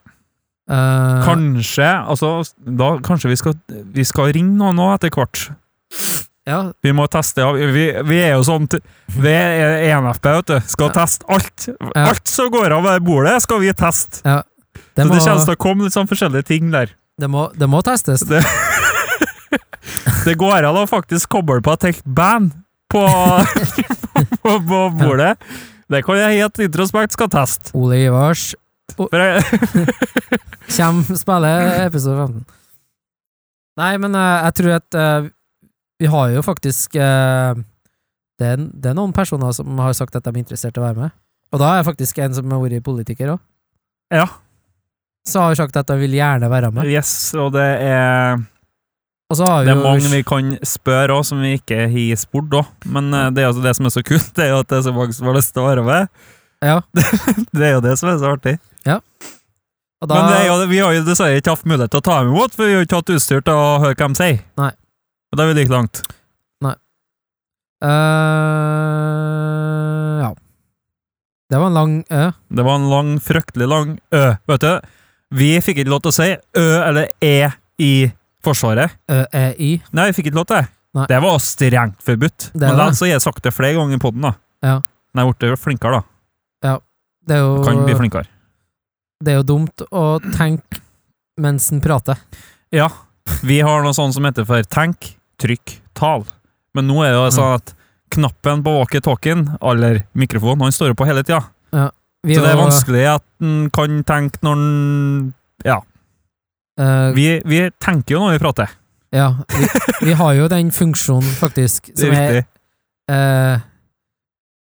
Speaker 1: Eh,
Speaker 2: Kanskje altså, da, kanskje vi skal, vi skal ringe noen nå etter hvert.
Speaker 1: ja,
Speaker 2: Vi må teste av. Vi, vi er jo sånn t- Vi er ENFP, vet du. Skal teste alt.
Speaker 1: Ja.
Speaker 2: Alt som går av det bordet, skal vi teste.
Speaker 1: det,
Speaker 2: Så
Speaker 1: må,
Speaker 2: det kjennes til å komme litt sånn forskjellige ting der.
Speaker 1: det, må, det må testes.
Speaker 2: Det, det går an å faktisk koble på et helt band på, på, på bordet. Det kan jeg helt introspekt skal teste.
Speaker 1: Ole Ivars
Speaker 2: For jeg,
Speaker 1: Kjem, spiller episode 15. Nei, men eh, jeg tror at eh, vi har jo faktisk eh, det, er, det er noen personer som har sagt at de er interessert i å være med. Og da er jeg faktisk en som har vært politiker òg.
Speaker 2: Ja.
Speaker 1: Så har hun sagt at de vil gjerne være med.
Speaker 2: yes, og det er,
Speaker 1: Og så har
Speaker 2: det
Speaker 1: vi
Speaker 2: er
Speaker 1: jo
Speaker 2: mange vi kan spørre òg, som vi ikke har spurt òg. Men eh, det er jo det som er så kult, det er jo at det er så mange som har lyst til å være med.
Speaker 1: Ja,
Speaker 2: Det er jo det som er så artig.
Speaker 1: og da,
Speaker 2: Men det er jo, vi har jo dessverre ikke hatt mulighet til å ta dem imot, for vi har jo ikke hatt utstyr til å høre hva de sier.
Speaker 1: Nei.
Speaker 2: Og da er vi like langt.
Speaker 1: Eh, Ja. Det var en lang ø.
Speaker 2: Det var en lang, fryktelig lang ø. Vet du, vi fikk ikke lov til å si ø eller e i Forsvaret.
Speaker 1: ø e, i
Speaker 2: Nei, vi fikk ikke lov til det.
Speaker 1: Nei.
Speaker 2: Det var strengt forbudt.
Speaker 1: Det er
Speaker 2: Men
Speaker 1: det.
Speaker 2: da, så har jeg sagt det flere ganger i podden da.
Speaker 1: Ja.
Speaker 2: Men jeg ble flinkere da.
Speaker 1: Det er jo
Speaker 2: Kan bli flinkere.
Speaker 1: Det er jo dumt å tenke mens en prater.
Speaker 2: Ja, vi har noe sånt som heter for tenk, trykk, tal. Men nå er det jo sånn at knappen på walkie-talkien, eller mikrofonen, han står jo på hele tida.
Speaker 1: Vi
Speaker 2: Så det er
Speaker 1: jo,
Speaker 2: vanskelig at en kan tenke når en
Speaker 1: eh,
Speaker 2: vi, vi tenker jo når vi prater.
Speaker 1: ja, vi, vi har jo den funksjonen, faktisk,
Speaker 2: Det
Speaker 1: som
Speaker 2: er
Speaker 1: er
Speaker 2: viktig.
Speaker 1: eh,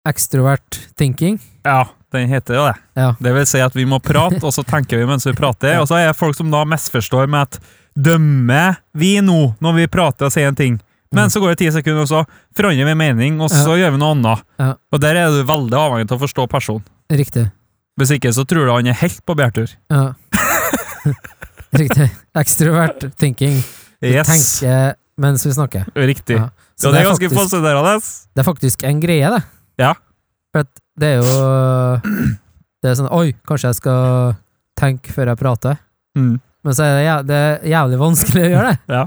Speaker 1: extrovert thinking.
Speaker 2: Ja, den heter jo det.
Speaker 1: Ja.
Speaker 2: Det vil si at vi må prate, og så tenker vi mens vi prater.
Speaker 1: Ja.
Speaker 2: Og så er det folk som da misforstår med at dømmer vi nå når vi prater og sier en ting? Men
Speaker 1: Mm.
Speaker 2: så går det ti sekunder, og så forandrer vi mening, og så gjør vi noe annet.
Speaker 1: Ja.
Speaker 2: Og der er du veldig avhengig av å forstå personen.
Speaker 1: Riktig.
Speaker 2: Hvis ikke så tror du han er helt på bærtur.
Speaker 1: Ja. Riktig. Extrovert thinking. Vi
Speaker 2: Yes,
Speaker 1: tenker mens vi snakker.
Speaker 2: riktig.
Speaker 1: Ja. Så
Speaker 2: Og det er ganske
Speaker 1: faktisk-
Speaker 2: fascinerende.
Speaker 1: Det er faktisk en greie, det.
Speaker 2: Ja.
Speaker 1: For at det er jo Det er sånn Oi, kanskje jeg skal tenke før jeg prater.
Speaker 2: Mm.
Speaker 1: Men så er det, jæv- det er jævlig vanskelig å gjøre det.
Speaker 2: Ja.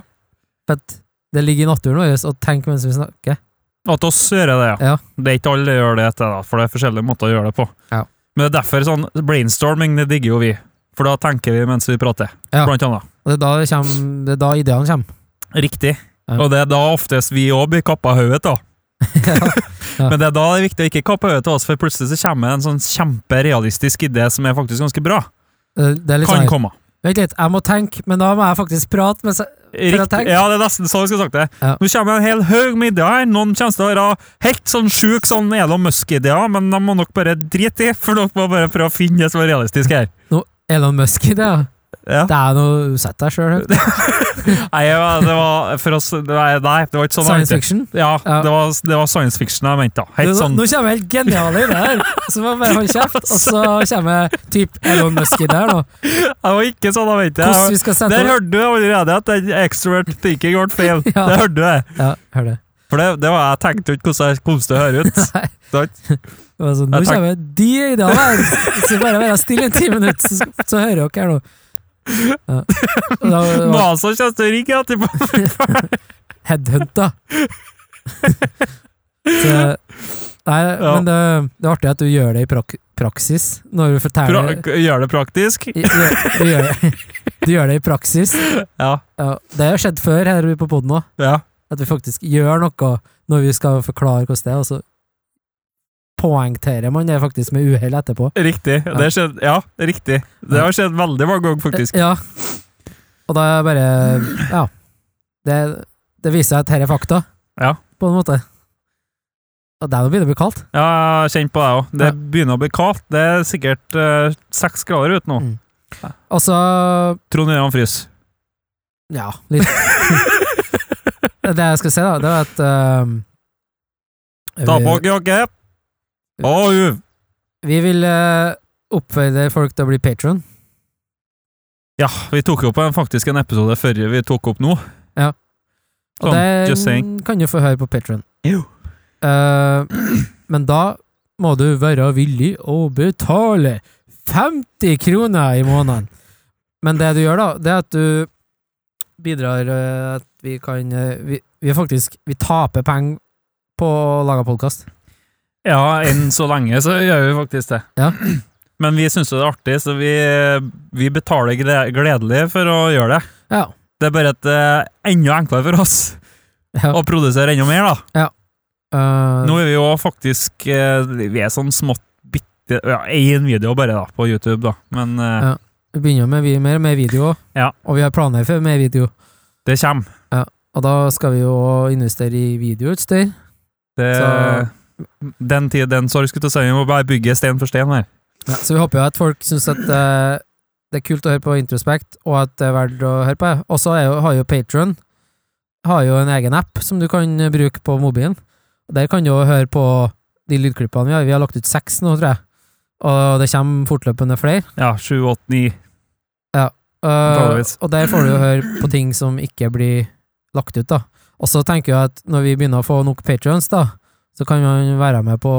Speaker 1: For at det ligger i naturen vår å tenke mens vi snakker.
Speaker 2: At oss gjør det, ja.
Speaker 1: Ja.
Speaker 2: Det er ikke alle det gjør det til, da, for det er forskjellige måter å gjøre det på.
Speaker 1: Ja.
Speaker 2: Men det er derfor sånn brainstorming, det digger jo vi. For da tenker vi mens vi prater,
Speaker 1: Ja.
Speaker 2: blant annet.
Speaker 1: Og det er da, det kommer, det er da ideene kommer.
Speaker 2: Riktig.
Speaker 1: Ja.
Speaker 2: Og det er da oftest vi òg blir kappa av hodet, da.
Speaker 1: Ja.
Speaker 2: Men det er da det er viktig å ikke kappe hodet til oss, for plutselig så kommer en sånn kjemperealistisk idé som er faktisk ganske bra.
Speaker 1: Det- Det er litt
Speaker 2: Kan
Speaker 1: sånn her,
Speaker 2: komme.
Speaker 1: Vent litt, jeg må tenke, men da må jeg faktisk prate. Mens jeg, For å
Speaker 2: Riktig.
Speaker 1: tenke.
Speaker 2: Ja, det er nesten så jeg skulle sagt det.
Speaker 1: Ja.
Speaker 2: Nå kommer en hel haug med ideer. Noen kommer til å være helt sånn sjuk sånn Elon Musk-ideer, men de må nok bare drite i, for dere må bare prøve å finne det som er realistisk her.
Speaker 1: Elon Musk i det, ja.
Speaker 2: Ja.
Speaker 1: Det er noe Sett deg sjøl høyt.
Speaker 2: Nei, det var- det var for oss Nei, nei, det var ikke sånn. jeg
Speaker 1: Science
Speaker 2: mente.
Speaker 1: fiction.
Speaker 2: Ja,
Speaker 1: Ja.
Speaker 2: det var, det var science fiction jeg mente. da.
Speaker 1: Nå,
Speaker 2: Helt sånn
Speaker 1: nå kommer helt geniale ideer! Så må jeg bare holde kjeft. Og så kommer typ Elon Musk i der, da.
Speaker 2: Det var ikke sånn jeg mente. Jeg-
Speaker 1: Hvordan vi skal sette
Speaker 2: Der hørte du allerede at den extrovert thinking got fail.
Speaker 1: Ja.
Speaker 2: Det hørte du. det.
Speaker 1: Ja, hør det.
Speaker 2: For det, det var jeg tenkte ikke hvordan jeg kom til å høre ut.
Speaker 1: Nei.
Speaker 2: Takk.
Speaker 1: Det var sånn,
Speaker 2: Ja,
Speaker 1: nå
Speaker 2: takk.
Speaker 1: kommer de ideene her! Så bare være stille i ti minutter, så, så hører dere her nå. Ja. Og Da var
Speaker 2: NASA kommer til å ringe etterpå.
Speaker 1: headhunta. Så, nei,
Speaker 2: Ja.
Speaker 1: men det, det er artig at du gjør det i prak praksis. Når du
Speaker 2: Pra
Speaker 1: forteller
Speaker 2: gjør det praktisk.
Speaker 1: i- gjør, du, gjør det, du gjør det i praksis.
Speaker 2: Ja.
Speaker 1: Ja, det har skjedd før her på poden òg,
Speaker 2: ja.
Speaker 1: at vi faktisk gjør noe når vi skal forklare hvordan det er, og så poengterer man det faktisk med uhell etterpå.
Speaker 2: Riktig. Det skjedde, ja, riktig. Det har skjedd veldig mange ganger, faktisk.
Speaker 1: Ja. Og da er jeg bare Ja. Det, det viser at dette er fakta,
Speaker 2: Ja.
Speaker 1: på en måte. Og der nå begynner det å bli kaldt.
Speaker 2: Ja, jeg har kjent på det òg. Det
Speaker 1: Ja.
Speaker 2: begynner å bli kaldt. Det er sikkert eh, seks grader ute nå.
Speaker 1: Og så
Speaker 2: Trond Jørgen fryser.
Speaker 1: Altså, Ja, litt. det jeg skal si, da, det er at eh,
Speaker 2: Ta
Speaker 1: vi-
Speaker 2: på dere jakke. Å, uv.
Speaker 1: Vi vil eh, oppfordre folk til å bli patron.
Speaker 2: Ja, vi tok jo opp en, faktisk en episode før vi tok opp nå.
Speaker 1: Ja. Og
Speaker 2: Sånn, just saying.
Speaker 1: den kan du få høre på patron.
Speaker 2: Jo.
Speaker 1: men da må du være villig å betale 50 kroner i måneden. Men det du gjør, da, det er at du bidrar eh, at vi kan eh, vi, vi er faktisk Vi taper penger på å lage podkast.
Speaker 2: Ja, enn så lenge så gjør vi faktisk det.
Speaker 1: Ja.
Speaker 2: Men vi syns jo det er artig, så vi, vi betaler gle- gledelig for å gjøre det.
Speaker 1: Ja.
Speaker 2: Det er bare at det er enda enklere for oss
Speaker 1: ja.
Speaker 2: å produsere enda mer, da.
Speaker 1: Eh,
Speaker 2: Nå er vi jo faktisk eh, Vi er sånn smått bitte Ja, én video bare, da, på YouTube, da. Men eh,
Speaker 1: Ja. vi begynner med vi- mer med video,
Speaker 2: Ja.
Speaker 1: og vi har planer for mer video.
Speaker 2: det kommer.
Speaker 1: Og da skal vi jo investere i videoutstyr.
Speaker 2: Det,
Speaker 1: Så-
Speaker 2: Den tid, den sorg, skulle jeg til å si. Vi må bare bygge stein for stein her.
Speaker 1: Ja, så vi håper jo at folk syns at eh, det er kult å høre på Introspect, og at det er verdt å høre på. Og så er jo- har jo Patron en egen app som du kan eh, bruke på mobilen. Og Der kan du jo høre på de lydklippene vi har. Vi har lagt ut seks nå, tror jeg. Og det kommer fortløpende flere.
Speaker 2: Ja, sju, åtte, ni.
Speaker 1: Eh,
Speaker 2: Antageligvis.
Speaker 1: og der får du jo høre på ting som ikke blir lagt ut, da. Og så tenker jeg at når vi begynner å få nok patrions, da, så kan man være med på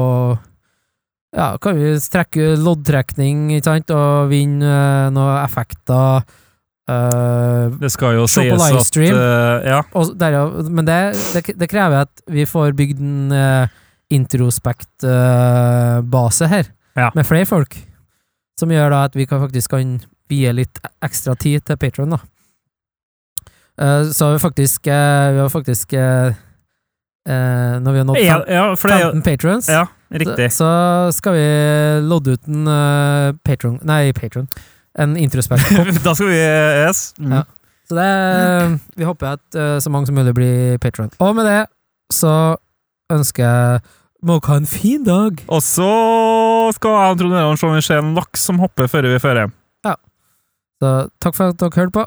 Speaker 1: Ja, kan vi trekke loddtrekning, ikke sant, og vinne eh, noen effekter. eh,
Speaker 2: Det skal jo
Speaker 1: Se på
Speaker 2: sies at
Speaker 1: livestream.
Speaker 2: eh, Ja.
Speaker 1: og derav, men det, det, det krever at vi får bygd en eh, introspekt-base her,
Speaker 2: Ja.
Speaker 1: med flere folk. Som gjør da at vi kan faktisk kan vie litt e, ekstra tid til Patron, da. Eh, så har vi faktisk eh, Vi har faktisk eh, eh, Når vi har nådd
Speaker 2: Ja,
Speaker 1: fem-
Speaker 2: ja, for det er
Speaker 1: 15 patrons,
Speaker 2: jo Ja, riktig.
Speaker 1: så skal vi lodde ut en eh, patron Nei, patron. En introspekt.
Speaker 2: da skal vi yes. Mm.
Speaker 1: Ja. Så det, vi håper at eh, så mange som mulig blir patron. Og med det så ønsker jeg Må dere ha en fin dag!
Speaker 2: Og så skal jeg og Trond Øyland se om vi ser en laks som hopper før vi fører.
Speaker 1: Så takk for at dere hørte på.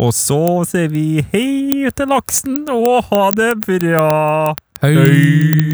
Speaker 2: Og så sier vi hei til laksen, og ha det bra. Hei.